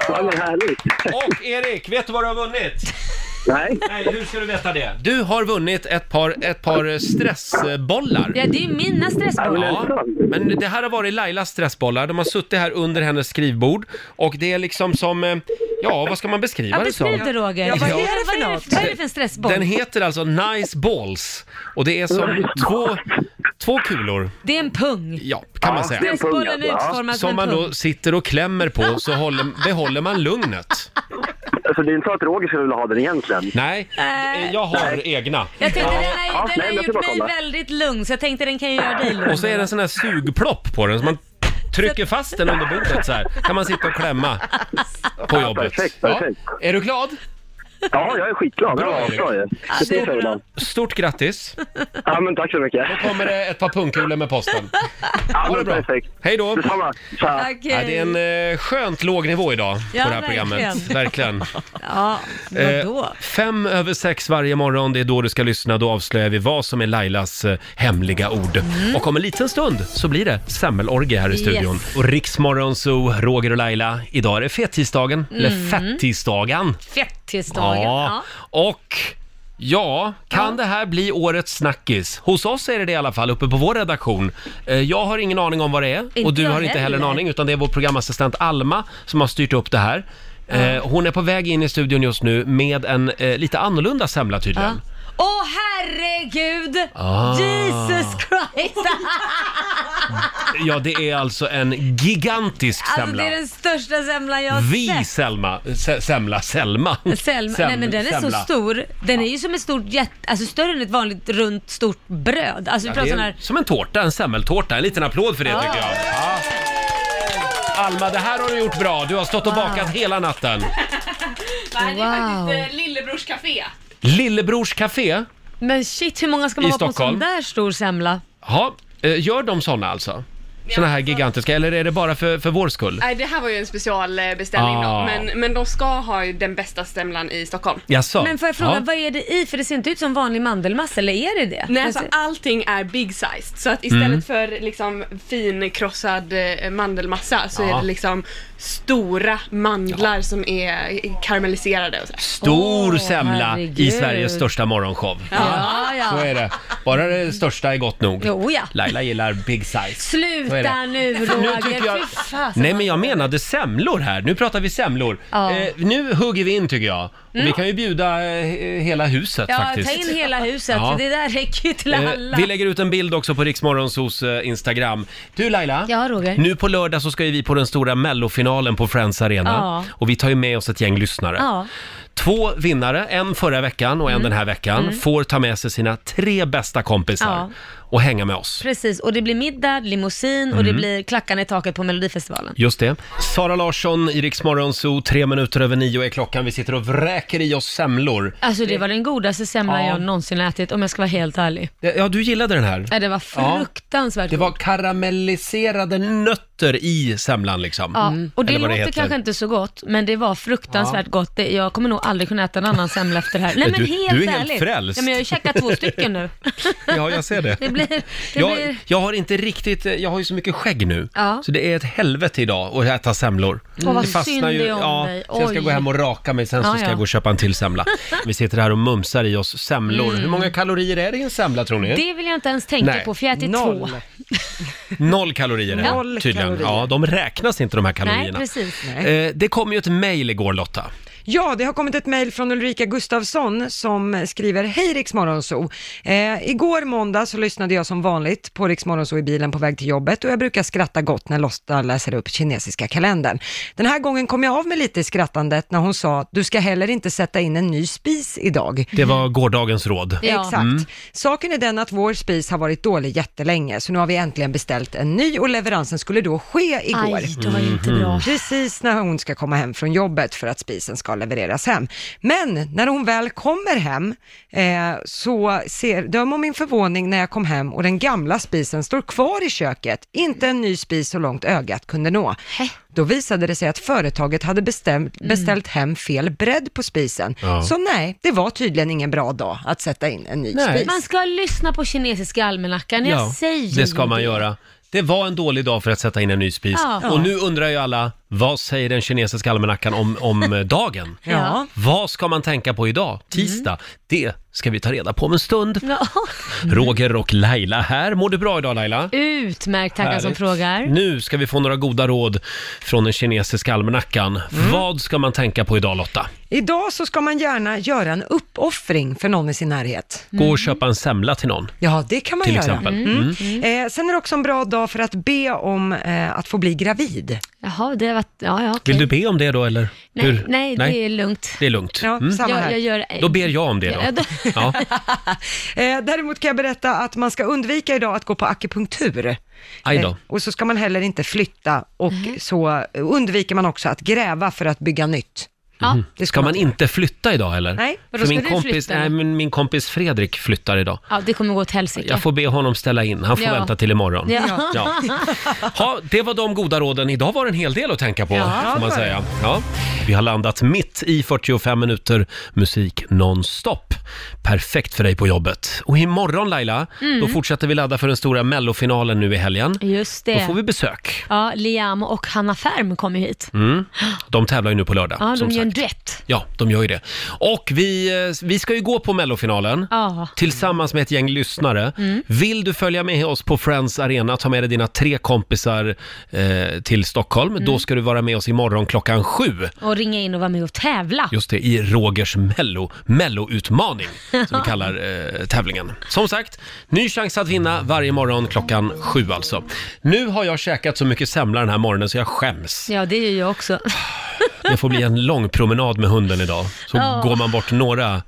Ja, men härligt.
Och Erik, vet du vad du har vunnit?
Nej.
Nej, hur ska du veta det? Du har vunnit ett par, ett par stressbollar.
Ja, det är ju mina stressbollar.
Ja, men det här har varit Lailas stressbollar. De har suttit här under hennes skrivbord och det är liksom som, eh, ja vad ska man beskriva
Ja,
det som?
beskriv det Roger.
Ja.
Vad är det- Vad är det för en stressboll?
Den heter alltså Nice Balls och det är som två, två kulor.
Det är en pung.
Ja, kan man
Ja,
säga.
det är en pung Stressbollen alltså, ja. utformad som
Som
en
man då
pung.
sitter och klämmer på så håller, behåller man lugnet.
Alltså, det är inte så att Roger skulle vilja ha den egentligen.
Nej,
Eh,
jag har egna.
Jag tänkte den har,
Ja,
den
nej,
har
men jag
gjort
ska bara
mig
kolla.
väldigt lugn, så jag tänkte den kan ju göra dig lugn.
Och så är det en sån här sugplopp på den, så man trycker fast den under bordet så här. Kan man sitta och klämma på jobbet.
perfekt, perfekt.
Är du glad?
Ja, jag är skitglad.
Bra,
ja,
Erik.
bra ju.
Ja,
Det
det är
ser jag
bra.
ibland.
Stort grattis!
Ja, men tack så mycket.
Då kommer det ett par pungkulor med posten.
Ja,
Ha det
men
bra!
perfekt.
Hej då!
Detsamma. Tja.
Ja, det är en eh, skönt låg nivå idag
Ja,
på det här programmet.
verkligen.
Verkligen.
Ja, vadå?
Eh, fem över sex varje morgon, det är då du ska lyssna. Då avslöjar vi vad som är Lailas eh, hemliga ord.
Mm.
Och om en liten stund så blir det semmelorgie här i
Yes.
studion. Och Riksmorgon Zoo, Roger och Laila. Idag är det fettisdagen, eller
Mm.
fettisdagen.
Fettisdagen. Ja.
Och ja, kan det här bli årets snackis? Hos oss är det det i alla fall, uppe på vår redaktion. Eh, Jag har ingen aning om vad det är och
Inte
du
jag
har inte heller en
heller.
aning utan det är vår programassistent Alma som har styrt upp det här. Eh, Hon är på väg in i studion just nu med en eh, lite annorlunda semla tydligen.
Åh herregud!
Ah.
Jesus Christ!
Ja, det är alltså en gigantisk
Alltså
semla.
det är den största semlan jag har
Vi
sett.
Selma, Se- semla, Selma.
Selma.
Sem-
Nej men den är
semla.
så stor. Den är ju som ett stort jätte, alltså större än ett vanligt runt stort bröd. Alltså vi
Ja,
pratar
det
sån
är
här...
som en tårta, en semmeltårta. En liten applåd för det
Ja.
tycker jag. Ja. Alma, det här har du gjort bra. Du har stått och
Wow.
bakat hela natten.
Nej, det är
Wow.
faktiskt eh, Lillebrors Café.
Lillebrors Café.
Men shit hur många ska man
I
ha på en
Stockholm.
sån där stor semla?
Ja, eh, gör de såna alltså? Såna här gigantiska, eller är det bara för, för vår skull?
Nej, det här var ju en specialbeställning
Ah.
då, men, men de ska ha ju den bästa semlan i Stockholm.
Jaså?
Men får jag fråga, vad är det i? För det ser inte ut som vanlig mandelmassa, eller är det det?
Nej,
Alltså-
alltså, allting är big sized. Så att istället
Mm.
för liksom finkrossad eh, mandelmassa så
Ja.
är det liksom stora mandlar som är eh, karamelliserade och sådär.
Stor semla i
herregud.
Sveriges största morgonshow.
Ja, ja.
Så är det. Bara det största är gott nog.
Jo, ja.
Laila gillar big size. Så är
Sluta
det.
nu
Nu
Roger,
tycker jag-
fy fasen.
Nej men jag menade semlor här, nu pratar vi semlor.
Ja.
Eh, nu hugger vi in tycker jag. Och
Mm.
vi kan ju bjuda eh, hela huset
Ja,
faktiskt.
ta in hela huset,
Ja.
det där räcker ju till alla.
Eh, Vi lägger ut en bild också på Riksmorgonsos eh, Instagram. Du Laila,
Ja, Roger.
nu på lördag så ska ju vi på den stora mellofinalen på Friends Arena.
Ja.
Och vi tar ju med oss ett gäng lyssnare.
Ja.
Två vinnare, en förra veckan och en
Mm.
den här veckan,
Mm.
får ta med sig sina tre bästa kompisar
Ja.
och hänga med oss.
Precis, och det blir middag, limousin och
Mm.
det blir klackarna i taket på Melodifestivalen.
Just det. Sara Larsson i Rix Morgon Zoo, tre minuter över nio är klockan. Vi sitter och vräker i oss semlor.
Alltså det var den godaste semlan
Ja.
jag någonsin ätit om jag ska vara helt ärlig.
Ja, du gillade den här.
Nej, det var
Ja.
fruktansvärt
Det var
gott.
karamelliserade nötter i semlan liksom.
Ja, och det
Eller vad
låter
heter.
kanske inte så gott, men det var fruktansvärt
Ja.
gott. Det- Jag kommer nog aldrig kunna äta en annan semla efter det här. Nej men
Du-
helt
du är helt
ärligt.
frälst.
Ja, men jag har ju käkat två stycken nu.
Ja, jag ser det.
Det blir... Det
Jag,
blir...
jag har inte riktigt, eh, jag har ju så mycket skägg nu,
Ja.
så det är ett helvete idag att äta semlor.
Åh, vad synd det är om
ja,
dig.
så jag ska
Oj.
gå hem och raka mig, sen så
Ja,
ska
ja.
jag gå och köpa en till semla. Vi sitter här och mumsar i oss semlor.
Mm.
Hur många kalorier är det i en semla tror ni?
Det vill jag inte ens tänka
Nej.
på, för jag äter två.
Noll kalorier är det,
Noll
tydligen.
kalorier.
Ja, de räknas inte de här
Nej,
kalorierna.
precis.
Eh, det kom ju ett mejl igår Lotta.
Ja, det har kommit ett mejl från Ulrika Gustafsson som skriver Hej Rix Morgonzoo! Eh, igår måndag så lyssnade jag som vanligt på Rix Morgonzoo i bilen på väg till jobbet och jag brukar skratta gott när Lotta läser upp kinesiska kalendern. Den här gången kom jag av mig lite i skrattandet när hon sa du ska heller inte sätta in en ny spis idag.
Det var gårdagens råd.
Exakt.
Mm.
Saken är den att vår spis har varit dålig jättelänge, så nu har vi äntligen beställt en ny och leveransen skulle då ske igår.
Aj, det var ju inte bra. Mhm.
Precis när hon ska komma hem från jobbet för att spisen ska levereras hem. Men när hon väl kommer hem eh, så ser, döm om min förvåning när jag kom hem och den gamla spisen står kvar i köket, inte en ny spis så långt ögat kunde nå. Då visade det sig att företaget hade bestämt,
Mm.
beställt hem fel bredd på spisen.
Ja.
Så nej, det var tydligen ingen bra dag att sätta in en ny spis.
Man ska lyssna på kinesiska almanackan, jag säger
det ska
ju
man
det.
göra. Det var en dålig dag för att sätta in en ny spis.
Ja.
Och nu undrar ju alla, vad säger den kinesiska almanackan om, om eh, dagen?
Ja. Mm.
Vad ska man tänka på idag, tisdag? Det ska vi ta reda på om en stund.
Ja. Mm.
Roger och Laila här. Mår du bra idag Laila?
Utmärkt, tackar som
Härligt.
frågar.
Nu ska vi få några goda råd från den kinesiska almanackan.
Mm.
Vad ska man tänka på idag Lotta?
Idag så ska man gärna göra en uppoffring för någon i sin närhet.
Mm. Gå
Mm.
och köpa en semla till någon.
Ja, det kan man
Till
göra.
exempel.
Mm.
Mm.
Eh, sen är det också en bra dag för att be om eh, att få bli gravid.
Jaha, det var... Ja, ja, okej.
Vill du be om det då eller?
Nej,
Hur?
nej, det är lugnt.
Det är lugnt. Mm.
Ja, samma
Jag-
här.
jag gör- eh,
Då ber jag om det då.
Ja, då-
Ja.
Eh, däremot kan jag berätta att man ska undvika idag att gå på akupunktur. Eh,
Aj då.
och så ska
Mm.
man heller inte flytta och så undviker man också att gräva för att bygga nytt.
Mhm. Ska man inte flytta idag eller?
Nej, vadå,
För
ska
min
du
kompis,
flytta?
nej, men min kompis Fredrik flyttar idag.
Ja, det kommer gå åt helsike.
Jag får be honom ställa in, han får
Ja.
vänta till imorgon.
Ja.
Ja. Ha, det var de goda råden. Idag var det en hel del att tänka på,
Ja,
får
det var
man
det.
säga. Ja. Vi har landat mitt i 45 minuter musik nonstop. Perfekt för dig på jobbet. Och imorgon Laila,
Mm.
då fortsätter vi ladda för den stora mellofinalen nu i helgen.
Just det.
Då får vi besök.
Ja, Liam och Hanna Färm kommer ju hit.
Mm. De tävlar ju nu på lördag.
Ja,
som
de gör
sagt.
en duett.
Ja, de gör ju det. Och vi, eh, vi ska ju gå på mellofinalen.
Ja.
Tillsammans med ett gäng lyssnare.
Mm.
Vill du följa med oss på Friends Arena, ta med dig dina tre kompisar eh, till Stockholm.
Mm.
Då ska du vara med oss imorgon klockan sju.
Och ringa in och vara med och tävla.
Just det, i Rogers mello, melloutmaning, som vi kallar eh, tävlingen. Som sagt, ny chans att vinna varje morgon klockan sju alltså. Nu har jag käkat så mycket semla den här morgonen så jag skäms.
Ja, det gör jag också.
Det får bli en lång promenad med hunden idag. Så
Ja.
går man bort några,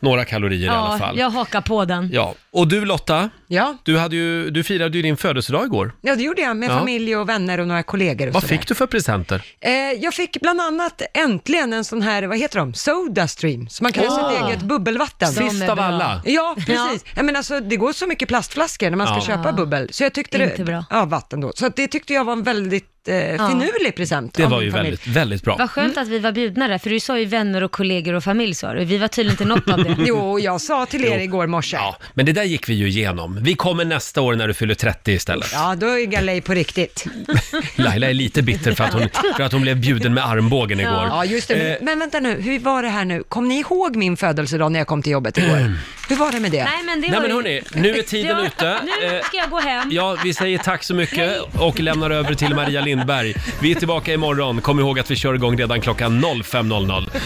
några kalorier i alla fall.
jag hakar på den.
Ja. Och du Lotta,
Ja.
du, hade ju, du firade ju din födelsedag igår.
Ja, det gjorde jag med
Ja.
familj och vänner och några kollegor. Och
Vad
sådär.
fick du för presenter?
Eh, jag fick bland annat äntligen en sån här, vad heter de, Sodastream, så man kan
Åh!
ha sitt eget bubbelvatten.
De är Sist av bra. alla.
Ja, precis.
Ja.
Jag menar, alltså, det går så mycket plastflaskor när man ska
Ja.
köpa
Ja.
bubbel. Så jag tyckte
Inte
det,
bra.
Ja, vatten då. Så att det tyckte jag var en väldigt eh, finurlig present.
Det
av
var
min
ju
familj.
väldigt, väldigt bra.
Vad skönt att vi var bjudna där, för du sa ju vänner och kollegor och familj sa du. Vi var tydligen inte något av det.
Jo,
jag sa till
er
igår morse.
Ja, men det där gick vi ju igenom. Vi kommer nästa år när du fyller 30 istället.
Ja, då är galej på riktigt.
Laila är lite bitter för att hon, för att hon blev bjuden med armbågen igår.
Ja, just det.
Eh,
Men vänta nu, hur var det här nu? Kom ni ihåg min födelsedag när jag kom till jobbet
Mm.
igår? Hur var det med det?
Nej, men det
Nej,
var
men
ju-
hörni, nu är tiden
ja,
ute.
Nu
Eh,
ska jag gå hem.
Ja, vi säger tack så mycket och lämnar över till Maria Lindberg. Vi är tillbaka imorgon. Kom ihåg att vi kör igång redan klockan 05.00.